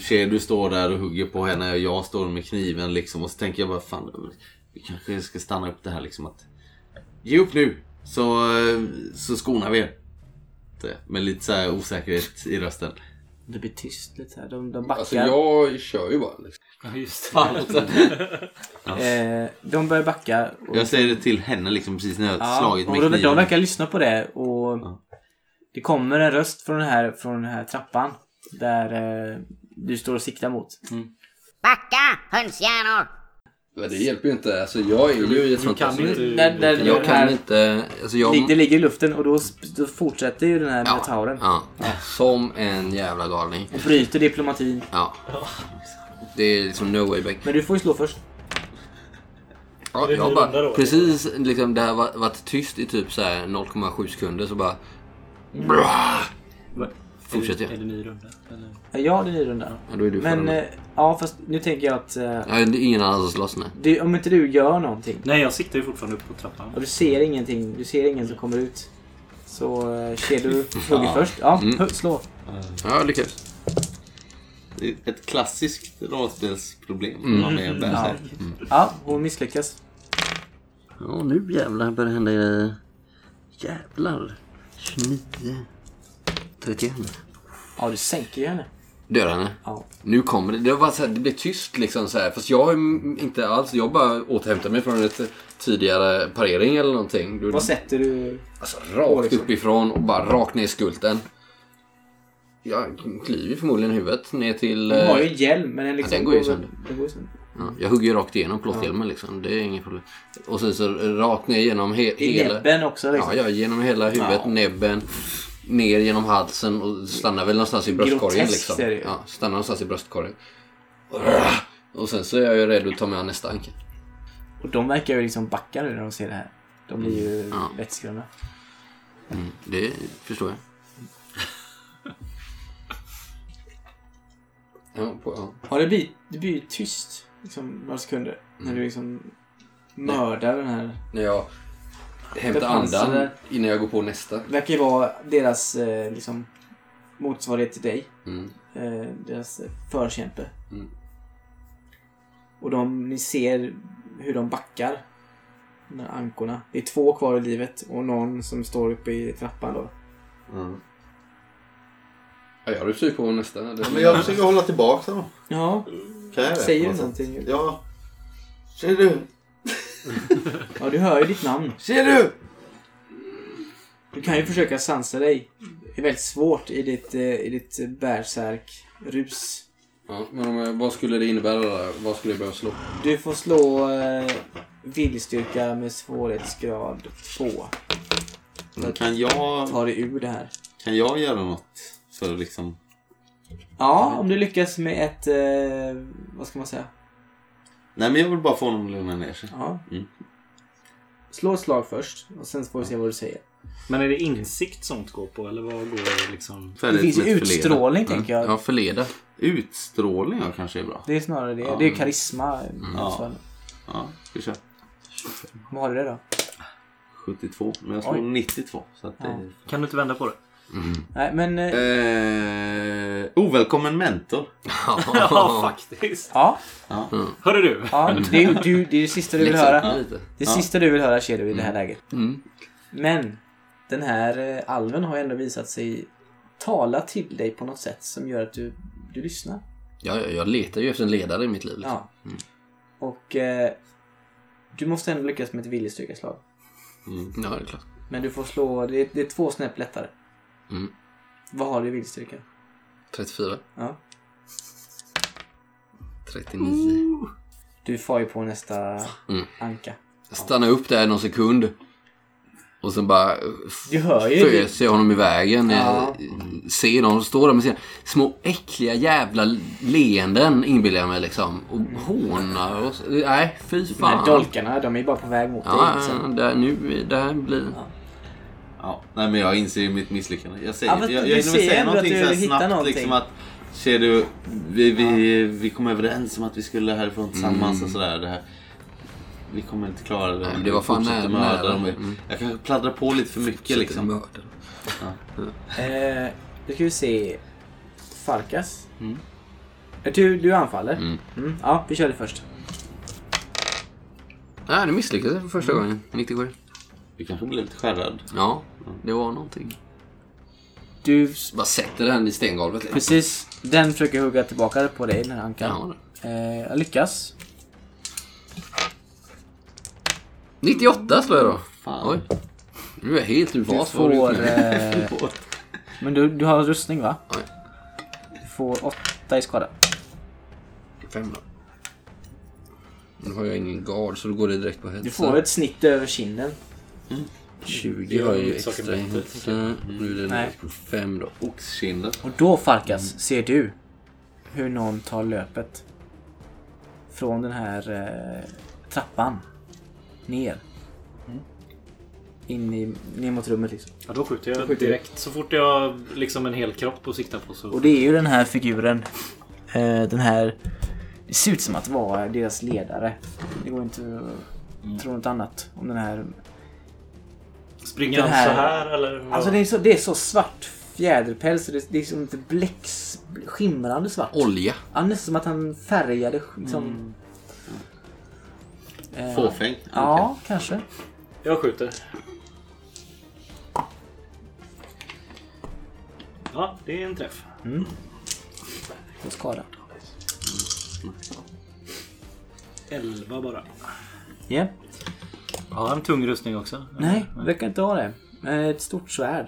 Speaker 5: Shedu står där och hugger på henne och jag står med kniven liksom. Och så tänker jag bara fan, vi kanske ska stanna upp det här liksom att... Ge upp nu! Så, eh, så skonar vi er. Det- Med lite så här osäkerhet i rösten.
Speaker 1: Det blir tyst lite här. De, de backar.
Speaker 4: Alltså jag kör ju bara. Liksom.
Speaker 3: Ja, just det.
Speaker 5: Fan, alltså.
Speaker 1: eh, de börjar backa. Och,
Speaker 5: Jag säger det till henne liksom precis när jag har slagit
Speaker 1: och
Speaker 5: med
Speaker 1: de, de
Speaker 5: kniven.
Speaker 1: verkar lyssna på det och det kommer en röst från den här, från den här trappan. Där eh, du står och siktar mot.
Speaker 7: Backa, hönshjärnor!
Speaker 4: Men det hjälper ju inte. Alltså jag är ju i ett sånt...
Speaker 3: Kan inte...
Speaker 1: Där, där den
Speaker 4: jag
Speaker 1: här,
Speaker 4: kan inte... Alltså jag...
Speaker 1: lig- Det ligger i luften och då, sp- då fortsätter ju den här
Speaker 4: Ja,
Speaker 1: metauren.
Speaker 4: Ja. Som en jävla galning.
Speaker 1: Och bryter diplomatin.
Speaker 4: Ja. Det är liksom no way back.
Speaker 1: Men du får ju slå först.
Speaker 4: Ja,
Speaker 9: det är en ny
Speaker 4: jag
Speaker 9: runda
Speaker 4: bara,
Speaker 9: då,
Speaker 4: precis liksom det här var, varit tyst i typ så här 0,7 sekunder så bara...
Speaker 1: Mm.
Speaker 4: Bra! Fortsätter
Speaker 3: Är
Speaker 4: jag.
Speaker 3: det ny runda? Eller?
Speaker 1: Ja, det är en runda.
Speaker 4: Ja, då är du
Speaker 1: Men
Speaker 4: förlorad.
Speaker 1: eh, ja, fast nu tänker jag att eh,
Speaker 4: Ja, det är ingen annan som slåss nej.
Speaker 1: du, om inte du gör någonting
Speaker 3: Nej, jag siktar ju fortfarande upp på trappan.
Speaker 1: Och du ser ingenting. Du ser ingen som kommer ut. Så eh, Kedu hugger först. Ja,
Speaker 4: Mm.
Speaker 1: hu- slå.
Speaker 4: Ja, jag lyckades.
Speaker 5: Det är Ett klassiskt rollspelsproblem.
Speaker 3: Mm.
Speaker 5: Man är bärsärk.
Speaker 1: Ja, hon misslyckas.
Speaker 10: Ja, nu jävlar börjar det hända grejer. Jävlar. 29. 31.
Speaker 1: Ja, du sänker ju henne.
Speaker 4: Döda henne?
Speaker 1: Ja.
Speaker 4: Nu kommer det. Det, var bara så här, det blev tyst liksom så här. Fast jag har ju m- inte alls. Jag bara återhämtade mig från ett tidigare parering eller någonting. Du,
Speaker 1: Vad sätter du?
Speaker 4: alltså rakt
Speaker 1: liksom.
Speaker 4: uppifrån och bara rakt ner i skulten. Jag kliver förmodligen huvudet ner till...
Speaker 1: Du har
Speaker 4: eh,
Speaker 1: ju en hjälm men den, liksom
Speaker 4: den går ju sönder.
Speaker 1: Den går ju sönder.
Speaker 4: Ja, jag hugger ju rakt igenom plåthjälmen liksom. Det är inget problem. Och sen så rakt ner genom he-
Speaker 1: I
Speaker 4: hela...
Speaker 1: näbben också liksom.
Speaker 4: Ja, ja, genom hela huvudet,
Speaker 1: Ja.
Speaker 4: näbben, ner genom halsen och stannar väl någonstans i bröstkorgen.
Speaker 1: Groteskt
Speaker 4: Liksom.
Speaker 1: är det ju.
Speaker 4: Ja, stannar någonstans i bröstkorgen. Och sen så är jag ju redo att ta mig an nästa anka.
Speaker 1: Och de verkar ju liksom backa nu när de ser det här. De blir ju
Speaker 4: Mm. Ja.
Speaker 1: vettskrämda.
Speaker 4: Det förstår jag. Ja, på, ja.
Speaker 1: Ja, det blir, det blir ju tyst liksom, några sekunder.
Speaker 4: Mm.
Speaker 1: När du liksom mördar den här.
Speaker 4: När jag hämtar
Speaker 1: Det fanns
Speaker 4: andan
Speaker 1: det-
Speaker 4: innan jag går på nästa.
Speaker 1: Det verkar ju vara deras eh, liksom, motsvarighet till dig.
Speaker 4: Mm.
Speaker 1: Eh, deras eh, förkämpe.
Speaker 4: Mm.
Speaker 1: Och de, ni ser hur de backar. De här ankorna. Det är två kvar i livet och någon som står uppe i trappan då.
Speaker 4: Ja, jag rusar ju på nästa. Det-
Speaker 5: Men jag försöker hålla tillbaka dem.
Speaker 1: Ja,
Speaker 5: Kan jag det?
Speaker 1: säger
Speaker 5: på
Speaker 1: du
Speaker 5: något
Speaker 1: någonting?
Speaker 5: sätt? Ja. Ser du?
Speaker 1: Ja, du hör ju ditt namn.
Speaker 11: Ser du?
Speaker 5: Mm.
Speaker 1: Du kan ju försöka sansa dig. Det är väldigt svårt i ditt, eh, i ditt bärsärk-rus.
Speaker 4: Ja, men om jag, vad skulle det innebära? Där? Vad skulle jag behöva slå?
Speaker 1: Du får slå eh, viljestyrka med svårighetsgrad 2.
Speaker 5: Kan jag,
Speaker 1: Ta dig ur det här.
Speaker 5: kan jag göra något? För att liksom...
Speaker 1: Ja, om du lyckas med ett... Eh, vad ska man säga?
Speaker 5: Nej men jag vill bara få honom att lugna ner sig.
Speaker 1: Ja.
Speaker 5: Mm.
Speaker 1: Slå ett slag först och sen får vi se vad du säger.
Speaker 3: Men är det insikt sånt går på eller vad går det liksom?
Speaker 5: Så här,
Speaker 1: Det finns ju
Speaker 5: som ett förleda.
Speaker 1: utstrålning tänker jag.
Speaker 12: Ja, förleda.
Speaker 5: Utstrålning ja, kanske är bra.
Speaker 1: Det är snarare det. Det är karisma.
Speaker 5: Ja. Ja, ska vi köra.
Speaker 1: Vad har du det då?
Speaker 5: 72. Men jag slog
Speaker 1: Oj.
Speaker 5: 92. Så att det...
Speaker 1: Ja.
Speaker 3: Kan du inte vända på det?
Speaker 1: Nej, men... Eh,
Speaker 5: Eh, ovälkommen mentor.
Speaker 3: ja, faktiskt.
Speaker 1: ja,
Speaker 3: Hörru du.
Speaker 1: ja det, är, ju- du, det är det sista du vill höra.
Speaker 4: Lite.
Speaker 1: Det
Speaker 5: Ja.
Speaker 1: sista du vill höra ser du i det här läget.
Speaker 4: Liksom. Mm.
Speaker 1: Men den här eh, alven har ju ändå visat sig tala till dig på något sätt som gör att du, du lyssnar.
Speaker 4: Ja, jag, jag letar ju efter en ledare i mitt liv. Liksom.
Speaker 1: Ja. Och eh, du måste ändå lyckas med ett viljestyrkeslag.
Speaker 4: Mm. Ja, det är klart.
Speaker 1: Men du får slå, det är, det är två snäpp lättare.
Speaker 4: Mm.
Speaker 1: Vad har du i viljestyrka?
Speaker 4: 34.
Speaker 1: Ja.
Speaker 4: 39.
Speaker 1: Du far ju på nästa
Speaker 4: Mm.
Speaker 1: anka.
Speaker 4: Jag stannar upp där någon sekund. Och sen bara
Speaker 1: Du hör ju det.
Speaker 4: föser jag honom i vägen. Eh,
Speaker 1: Ja.
Speaker 4: Jag ser honom stå där med sina små äckliga jävla leenden inbillar jag mig liksom. Och hånar och... så- Nej, fy
Speaker 1: De här
Speaker 4: fan.
Speaker 1: dolkarna, de är liksom- ju bara på väg mot
Speaker 4: Ja,
Speaker 1: dig.
Speaker 4: ja,
Speaker 1: Så.
Speaker 4: där, nu, det här blir...
Speaker 5: Ja, nej men jag inser ju mitt misslyckande. Jag säger,
Speaker 1: Ja, men
Speaker 5: jag,
Speaker 1: du
Speaker 5: jag hinner väl
Speaker 1: ser
Speaker 5: säga
Speaker 1: ändå att
Speaker 5: någonting
Speaker 1: du
Speaker 5: så här
Speaker 1: hittar
Speaker 5: snabbt
Speaker 1: någonting.
Speaker 5: liksom att Ser du, vi, vi, vi kom överens om att vi skulle
Speaker 1: Mm.
Speaker 5: härifrån tillsammans och sådär. Det här. Vi kommer inte klara det.
Speaker 4: men
Speaker 5: Vi
Speaker 4: det var fan
Speaker 5: fortsätter
Speaker 4: nära-
Speaker 5: mörda
Speaker 4: nära.
Speaker 5: dem.
Speaker 4: Mm.
Speaker 5: Jag kanske pladdrar på lite för mycket liksom.
Speaker 1: Eh, då ska vi se. Farkas.
Speaker 4: Mm.
Speaker 1: Eh, Du, du anfaller? Mm, ja, vi kör det först.
Speaker 4: Nej, det misslyckades jag för första
Speaker 1: Mm.
Speaker 4: gången. 97.
Speaker 5: Du kanske blir lite skärrad.
Speaker 4: Ja, det var någonting.
Speaker 1: Du
Speaker 4: Bara sätter den i stengolvet. Liksom.
Speaker 1: Precis. Den försöker hugga tillbaka på dig, den här ankan.
Speaker 4: Ja,
Speaker 1: Eh, jag lyckas.
Speaker 4: 98 slår jag då. Oj. Du är helt ur
Speaker 1: Du
Speaker 4: vas. vad du
Speaker 1: får...
Speaker 4: gjort nu.
Speaker 1: Eh, men du, du har rustning va?
Speaker 4: Nej.
Speaker 1: Du får åtta i skada.
Speaker 4: Fem då. Nu har jag ingen gard så då går det direkt på hälsa.
Speaker 1: Du får ett snitt över kinden.
Speaker 4: 20 har jag ju
Speaker 3: Saker Mm.
Speaker 4: extra
Speaker 3: bättre,
Speaker 4: i hälsa. Nu är det
Speaker 1: Nej.
Speaker 4: direkt på fem då.
Speaker 5: Oxkinden.
Speaker 1: Och då Farkas ser du hur någon tar löpet. Från den här eh, trappan. Ner. In i, ner mot rummet liksom.
Speaker 3: Ja, då skjuter jag
Speaker 1: skjuter du.
Speaker 3: direkt. Så fort jag har liksom en hel kropp att sikta på så...
Speaker 1: Och det är ju den här figuren. Eh, den här... Det ser ut som att vara deras ledare. Det går inte att tro något annat om den här.
Speaker 3: Springer
Speaker 1: den
Speaker 3: han
Speaker 1: här-
Speaker 3: så här eller? vad?
Speaker 1: Alltså det är så, det är så svart fjäderpäls. så Det, det är som lite bläcks... Skimrande svart.
Speaker 4: Olja.
Speaker 1: Ja, nästan som att han färgade liksom... Eh,
Speaker 5: Fåfäng.
Speaker 1: Ja, kanske.
Speaker 3: Jag skjuter. Ja, det är en träff.
Speaker 1: på skada.
Speaker 6: 11 bara.
Speaker 1: Ja.
Speaker 3: Har han tung rustning också?
Speaker 1: Nej, verkar inte ha det. Eh, Ett stort svärd.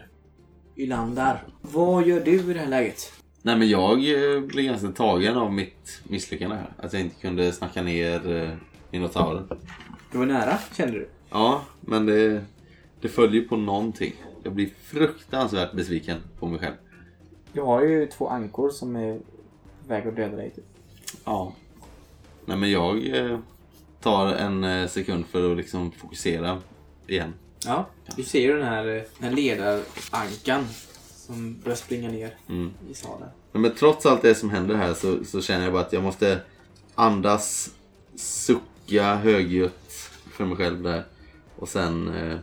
Speaker 1: Ylander, vad gör du i det här läget?
Speaker 5: Nej men jag eh, blev ganska tagen av mitt misslyckande här. Att jag inte kunde snacka ner eh, minotauren.
Speaker 1: Du var nära, kände du.
Speaker 5: Ja, men det, det följer på någonting. Jag blir fruktansvärt besviken på mig själv.
Speaker 1: Du har ju två ankor som är på väg att döda dig. Typ.
Speaker 5: Ja. Nej men jag eh, tar en eh, sekund för att liksom fokusera igen.
Speaker 1: Ja, du ser ju den här, eh, den här ledarankan som börjar springa ner
Speaker 5: Mm.
Speaker 1: i salen.
Speaker 5: Nej, Men trots allt det som händer här så, så känner jag bara att jag måste andas, sucka högljutt för mig själv där. Och sen, eh,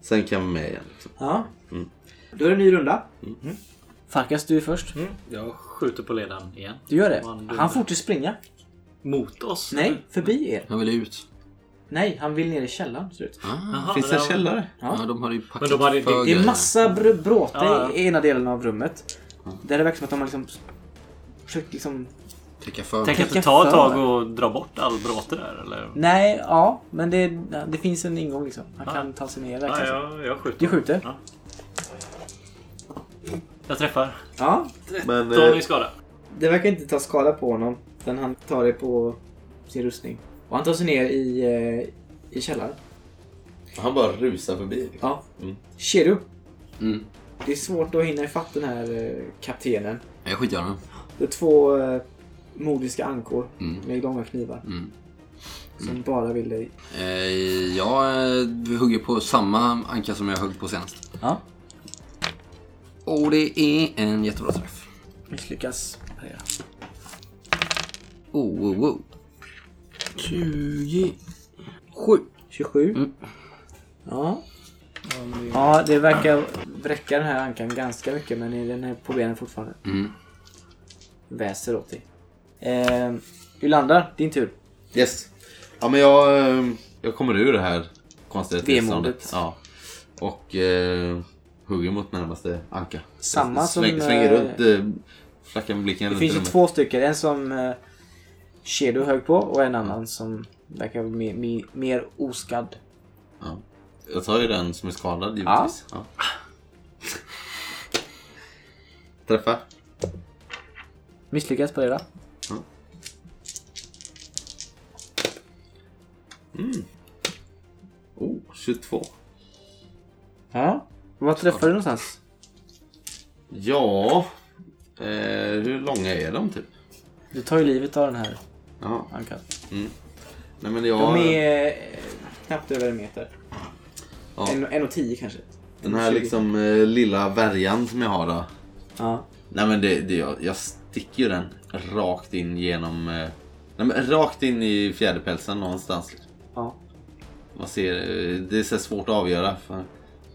Speaker 5: sen kan vi med igen. Liksom.
Speaker 1: Ja.
Speaker 5: Mm.
Speaker 1: Då är det en ny runda.
Speaker 6: Mm.
Speaker 1: Farkas, du är först.
Speaker 3: Jag skjuter på ledaren igen.
Speaker 1: Du gör det.
Speaker 3: Och han
Speaker 1: Han fortsätter springa.
Speaker 3: Mot oss?
Speaker 6: Mm.
Speaker 1: Nej, förbi er.
Speaker 4: Han vill ut.
Speaker 1: Nej, han vill ner i källaren. ser det ut.
Speaker 3: Jaha,
Speaker 5: Finns det
Speaker 3: där
Speaker 5: en
Speaker 3: var-
Speaker 5: källare?
Speaker 1: Ja.
Speaker 4: Ja, de hade ju packat
Speaker 3: Men de hade- det-
Speaker 4: för
Speaker 1: Det är
Speaker 4: grejer.
Speaker 1: massa br- bråte
Speaker 3: Ja, ja.
Speaker 1: i ena delen av rummet. Där det verkar som att de har liksom försökt liksom...
Speaker 4: Täcka för.
Speaker 3: Tänk att
Speaker 1: Tänka
Speaker 3: det tar ett tag
Speaker 1: för.
Speaker 3: och dra bort all bråte där eller?
Speaker 1: Nej, ja. Men det, det finns en ingång liksom. Han kan ta sig ner där
Speaker 6: Ja,
Speaker 1: kanske.
Speaker 6: jag, jag skjuter.
Speaker 1: Du skjuter?
Speaker 6: Ja. Jag träffar.
Speaker 1: Ja.
Speaker 5: Men,
Speaker 6: Tolv i skada.
Speaker 1: Det verkar inte ta skada på honom. Utan han tar det på sin rustning. Och han tar sig ner i, eh, i källaren. eh,
Speaker 5: han bara rusar förbi.
Speaker 1: Ja.
Speaker 5: Mm.
Speaker 1: Cheru.
Speaker 8: Mm.
Speaker 1: Det är svårt att hinna ifatt den här eh, kaptenen.
Speaker 4: Jag skiter i honom.
Speaker 1: Det är två eh, modiska ankor
Speaker 4: Mm.
Speaker 1: med långa knivar.
Speaker 4: Mm.
Speaker 1: Som bara vill dig...
Speaker 4: Eh, Jag eh, hugger på samma anka som jag högg på senast.
Speaker 1: Ja.
Speaker 4: Och det är en jättebra träff.
Speaker 1: Misslyckas. parera.
Speaker 4: Oh, oh, oh. 27.
Speaker 1: 27.
Speaker 4: Mm.
Speaker 1: Ja. Ja, det verkar bräcka den här ankan ganska mycket men den är på benen fortfarande.
Speaker 4: Mm.
Speaker 1: Väser åt dig. Eh, Ylander, din tur.
Speaker 5: Yes. Ja men jag, eh, jag kommer ur det här konstiga
Speaker 1: Vemodet.
Speaker 5: tillståndet. Ja. Och eh, hugger mot närmaste anka.
Speaker 1: Samma
Speaker 5: Jag
Speaker 1: som,
Speaker 5: släng, Slänger
Speaker 1: eh,
Speaker 5: runt, eh, flackar Mm, med blicken
Speaker 1: Det
Speaker 5: runt
Speaker 1: finns
Speaker 5: i
Speaker 1: ju
Speaker 5: rummet.
Speaker 1: två stycken. En som eh, Shedo hög på och en annan som verkar mer, mer, mer oskadd.
Speaker 5: Ja. Jag tar ju den som är skadad givetvis. Ja. Träffa.
Speaker 1: Misslyckas på det då.
Speaker 5: Oh, 22.
Speaker 1: Ja. Vad träffar du någonstans?
Speaker 5: Ja. Eh, hur långa är de typ?
Speaker 1: Du tar ju livet av den här
Speaker 5: Ja.
Speaker 1: ankan.
Speaker 5: Nej men jag...
Speaker 1: De är eh, knappt över en meter.
Speaker 5: Ja.
Speaker 1: En, en och tio kanske.
Speaker 5: Den här
Speaker 1: 20.
Speaker 5: liksom eh, lilla värjan som jag har då.
Speaker 1: Ja.
Speaker 5: Nej men det, det, jag, jag sticker ju den rakt in genom... Eh, nej men rakt in i fjäderpälsen någonstans.
Speaker 1: ja.
Speaker 5: Man ser, eh, det är så här svårt att avgöra. För,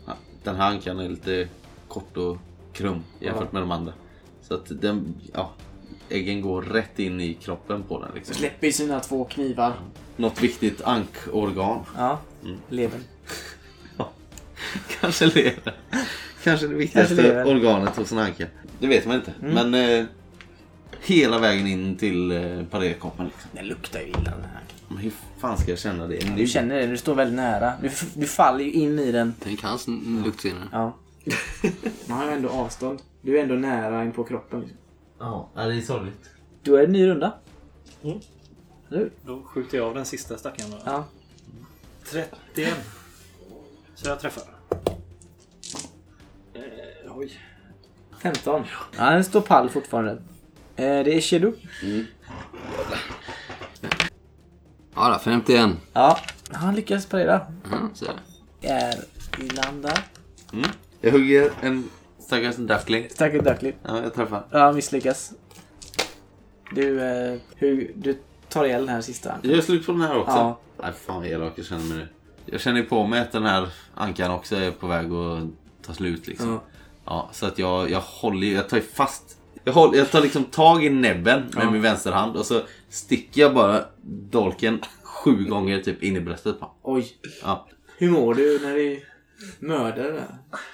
Speaker 5: ja, den här ankan är lite kort och krum jämfört med de andra. Så att den, ja, äggen går rätt in i kroppen på den. Liksom.
Speaker 1: Släpper sina två knivar.
Speaker 5: Något viktigt ankorgan.
Speaker 1: Ja.
Speaker 5: Mm.
Speaker 1: Levern.
Speaker 5: Kanske levern. Kanske det viktigaste
Speaker 1: Kanske levern.
Speaker 5: organet hos en anka. Det vet man inte. Men eh, hela vägen in till eh, parerkoppen. Liksom.
Speaker 1: Den luktar ju illa den här.
Speaker 5: Men hur fan ska jag känna det nu?
Speaker 1: Du känner det, du står väldigt nära. Du, f- du faller ju in i den.
Speaker 4: Tänk hans n- luktsinne.
Speaker 1: Ja. Man har ju ändå avstånd. Du är ändå nära in på kroppen. Liksom.
Speaker 5: Ja, det är sorgligt.
Speaker 1: Då är det en ny runda.
Speaker 6: Då skjuter jag av den sista stackaren. då.
Speaker 1: Ja.
Speaker 6: 31. Så jag träffar. Eh, oj.
Speaker 1: 15. Ja, den står pall fortfarande. Eh, det är Shedu.
Speaker 4: Ja, då, 51.
Speaker 1: Ja. Han lyckas parera.
Speaker 4: Mm, så är det.
Speaker 1: Är Ylander.
Speaker 5: Mm. Jag hugger en stackars duckling.
Speaker 1: Stackars Duckling.
Speaker 5: Ja, jag träffar.
Speaker 1: Ja, misslyckas. Du, eh, hur, du tar ihjäl den här sista.
Speaker 5: Jag gör slut på den här också.
Speaker 1: Ja.
Speaker 5: Nej, fan vad elak jag känner mig nu. Jag känner ju på mig att den här ankan också är på väg att ta slut liksom.
Speaker 1: Ja.
Speaker 5: Ja. så att jag, jag håller ju- jag tar ju fast. Jag, håller, jag tar liksom tag i näbben med min vänsterhand och så sticker jag bara dolken sju gånger typ in i bröstet. på.
Speaker 1: Oj.
Speaker 5: Ja.
Speaker 1: Hur mår du när du mördar den?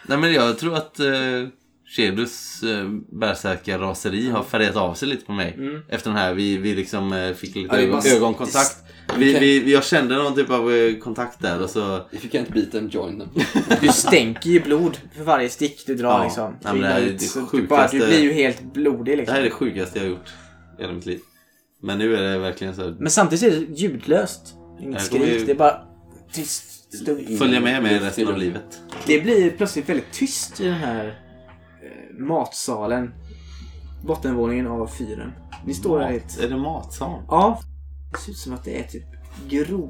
Speaker 5: Nej men jag tror att eh, Shedus eh, bärsärkarraseri har färgat av sig lite på mig.
Speaker 1: Mm.
Speaker 5: Efter den här, vi, vi liksom eh, fick lite
Speaker 4: Ja, det
Speaker 5: ögon,
Speaker 4: var-
Speaker 5: ögonkontakt. Vi, vi, vi, jag kände någon typ av eh, kontakt där och så...
Speaker 4: If you can't beat them, join them.
Speaker 1: Du stänker ju blod för varje stick du drar
Speaker 5: Ja.
Speaker 1: liksom.
Speaker 5: Ja, men det här är
Speaker 1: Du-
Speaker 5: det
Speaker 1: så du
Speaker 5: sjukaste-
Speaker 1: bara- Du blir ju helt blodig
Speaker 5: Det
Speaker 1: liksom.
Speaker 5: här är det sjukaste jag har gjort i hela mitt liv. Men nu är det verkligen så här...
Speaker 1: Men samtidigt är det ljudlöst. Inget
Speaker 5: Nej, det kommer
Speaker 1: skrik.
Speaker 5: ju-
Speaker 1: Det är bara tyst. Stum.
Speaker 5: Följa med mig resten av livet.
Speaker 1: Det blir plötsligt väldigt tyst i den här eh, matsalen. Bottenvåningen av fyren. Ni står där helt...
Speaker 5: Är det matsal?
Speaker 1: Ja. Det ser ut som att det är typ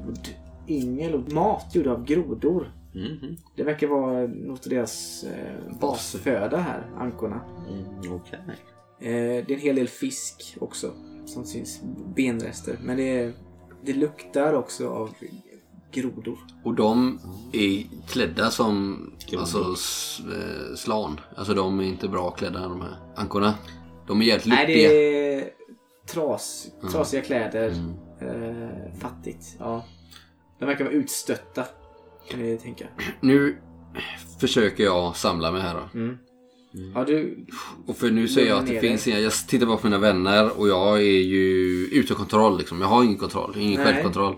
Speaker 1: grodyngel och mat gjord av grodor.
Speaker 5: Mhm.
Speaker 1: Det verkar vara något av deras eh, basföda här, ankorna.
Speaker 5: Mm, Okej.
Speaker 1: Eh, det är en hel del fisk också som syns. Benrester. Men det, det luktar också av grodor.
Speaker 4: Och de är klädda som alltså, s- eh, slan. Alltså de är inte bra klädda de här ankorna. De är jävligt
Speaker 1: Nej,
Speaker 4: luftiga.
Speaker 1: det är tras, trasiga kläder.
Speaker 5: Mm.
Speaker 1: Eh, fattigt. Ja. De verkar vara utstötta. Kan ni tänka.
Speaker 4: Nu försöker jag samla mig här då.
Speaker 1: Mm.
Speaker 5: Mm.
Speaker 1: Ja, du...
Speaker 4: Och för nu ser jag att det
Speaker 1: Lugna ner
Speaker 4: finns inga, jag tittar bara på mina vänner och jag är ju utan kontroll liksom. Jag har ingen kontroll, ingen
Speaker 1: Nej.
Speaker 4: självkontroll.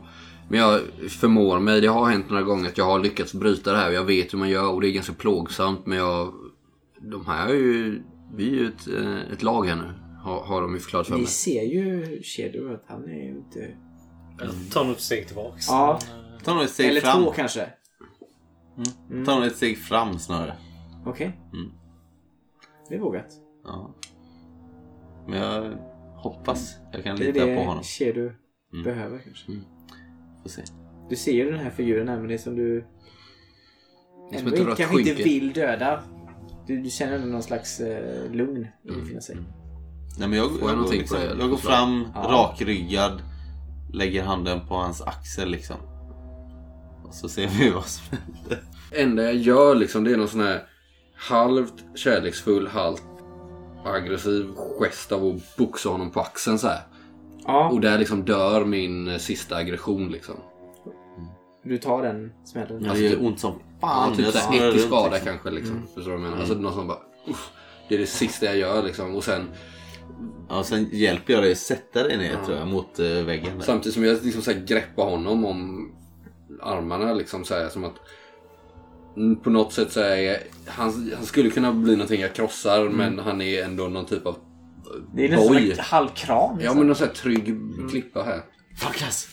Speaker 4: Men jag förmår mig, det har hänt några gånger att jag har lyckats bryta det här och jag vet hur man gör och det är ganska plågsamt men jag... De här är ju, vi är ju ett, eh, ett lag här nu. Har, har de ju förklarat för
Speaker 1: Ni
Speaker 4: mig.
Speaker 1: ser ju Shedu att han är ju inte...
Speaker 3: Jag tar nog ett steg tillbaks.
Speaker 1: Ja,
Speaker 5: Ta nog ett steg
Speaker 1: eller
Speaker 5: fram.
Speaker 1: två Mm. kanske.
Speaker 5: Ta nog ett steg fram snarare.
Speaker 1: Okej.
Speaker 5: Mm.
Speaker 1: Det är vågat.
Speaker 5: Ja. Men jag hoppas jag kan
Speaker 1: Det är
Speaker 5: lita på honom.
Speaker 1: det Shedu
Speaker 5: Mm.
Speaker 1: behöver kanske.
Speaker 5: Får se.
Speaker 1: Du ser ju den här figuren här men det är som du...
Speaker 4: Det är som
Speaker 1: ändå
Speaker 4: ett
Speaker 1: inte,
Speaker 4: rött
Speaker 1: kanske inte
Speaker 4: skynke.
Speaker 1: vill döda. Du, du känner ändå någon slags eh, lugn
Speaker 5: Mm.
Speaker 1: infinna sig.
Speaker 5: Nej, men jag, jag,
Speaker 4: jag
Speaker 5: går,
Speaker 4: någonting
Speaker 5: liksom,
Speaker 4: på det, eller
Speaker 5: jag går
Speaker 4: förslag?
Speaker 5: fram
Speaker 1: Ja.
Speaker 5: rakryggad. Lägger handen på hans axel liksom. Och så ser vi vad som händer.
Speaker 4: enda jag gör liksom det är någon sån här halvt kärleksfull, halvt aggressiv gest av att boxa honom på axeln så här.
Speaker 1: Ja,
Speaker 4: Och där liksom dör min eh, sista aggression liksom.
Speaker 1: du tar den smällen.
Speaker 5: Alltså, det gör ont som fan.
Speaker 4: Ja, typ
Speaker 5: Mm, Jag
Speaker 4: så
Speaker 5: snurrar
Speaker 4: här äcklig
Speaker 5: runt,
Speaker 4: skada
Speaker 5: liksom.
Speaker 4: kanske liksom. Förstår du vad jag menar? Alltså någon som bara uff, Det är det sista jag gör liksom. Och sen
Speaker 5: Ja, och sen hjälper jag dig att sätta dig ner tror jag mot eh, väggen. Där.
Speaker 4: samtidigt som jag liksom så här greppar honom om armarna liksom så här som att mm, på något sätt så är han, han skulle kunna bli någonting jag krossar men han är ändå någon typ av eh,
Speaker 1: Det är nästan
Speaker 4: boj.
Speaker 1: som en halvkram.
Speaker 4: Ja men någon sån här trygg
Speaker 1: Mm.
Speaker 4: klippa här.
Speaker 13: Farkas!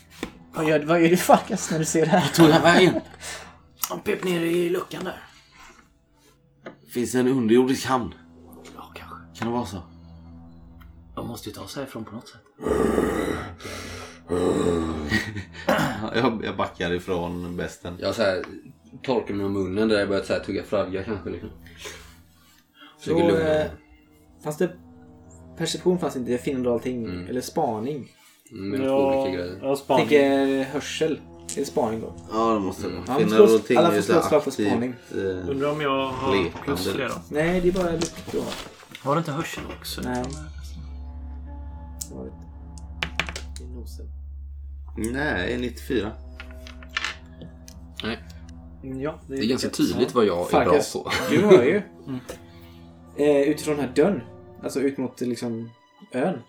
Speaker 1: Vad gör, vad gör du Farkas när du ser det här?
Speaker 13: Tog han vägen? Han pep ner i luckan där.
Speaker 5: Finns det en underjordisk hamn?
Speaker 13: Ja, kanske.
Speaker 5: Kan det vara så?
Speaker 13: De måste ju ta sig härifrån på något sätt.
Speaker 5: Ja, Jag, jag backar ifrån bästen.
Speaker 4: Jag så här, torkar mig om munnen där jag börjat så här, tugga fradga kanske. Liksom.
Speaker 1: Så,
Speaker 4: Försöker lugna
Speaker 1: eh, fanns det... Perception fanns inte, jag finner allting.
Speaker 4: Mm.
Speaker 1: Eller spaning.
Speaker 4: med
Speaker 3: Ja,
Speaker 4: olika grejer.
Speaker 3: jag har
Speaker 1: Jag
Speaker 3: spaning.
Speaker 1: tänker hörsel. Är det spaning då?
Speaker 5: Ja, det måste det
Speaker 1: Ja,
Speaker 5: vara.
Speaker 1: men
Speaker 5: Finnar
Speaker 1: slå-
Speaker 5: och ting
Speaker 1: alla
Speaker 5: är
Speaker 1: får
Speaker 5: ju så här
Speaker 1: slå ett slag för spaning.
Speaker 5: eh,
Speaker 3: Undrar om jag har
Speaker 5: Lekande.
Speaker 3: plus flera.
Speaker 1: Nej, det är bara lukt då.
Speaker 13: Var det inte hörsel också?
Speaker 1: Nej. Det var lite- det är nosen.
Speaker 5: Nej, 94.
Speaker 4: Nej,
Speaker 1: Mm, Ja,
Speaker 4: det är ganska tydligt vad jag är bra
Speaker 1: Farkas,
Speaker 4: på.
Speaker 1: du hör ju. Eh, utifrån den här dörren. Alltså ut mot eh, liksom ön.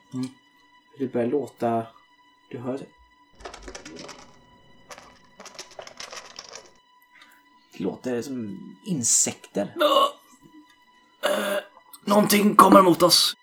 Speaker 1: Det börjar låta... Du hör det. Det låter som insekter.
Speaker 13: Någonting kommer mot oss.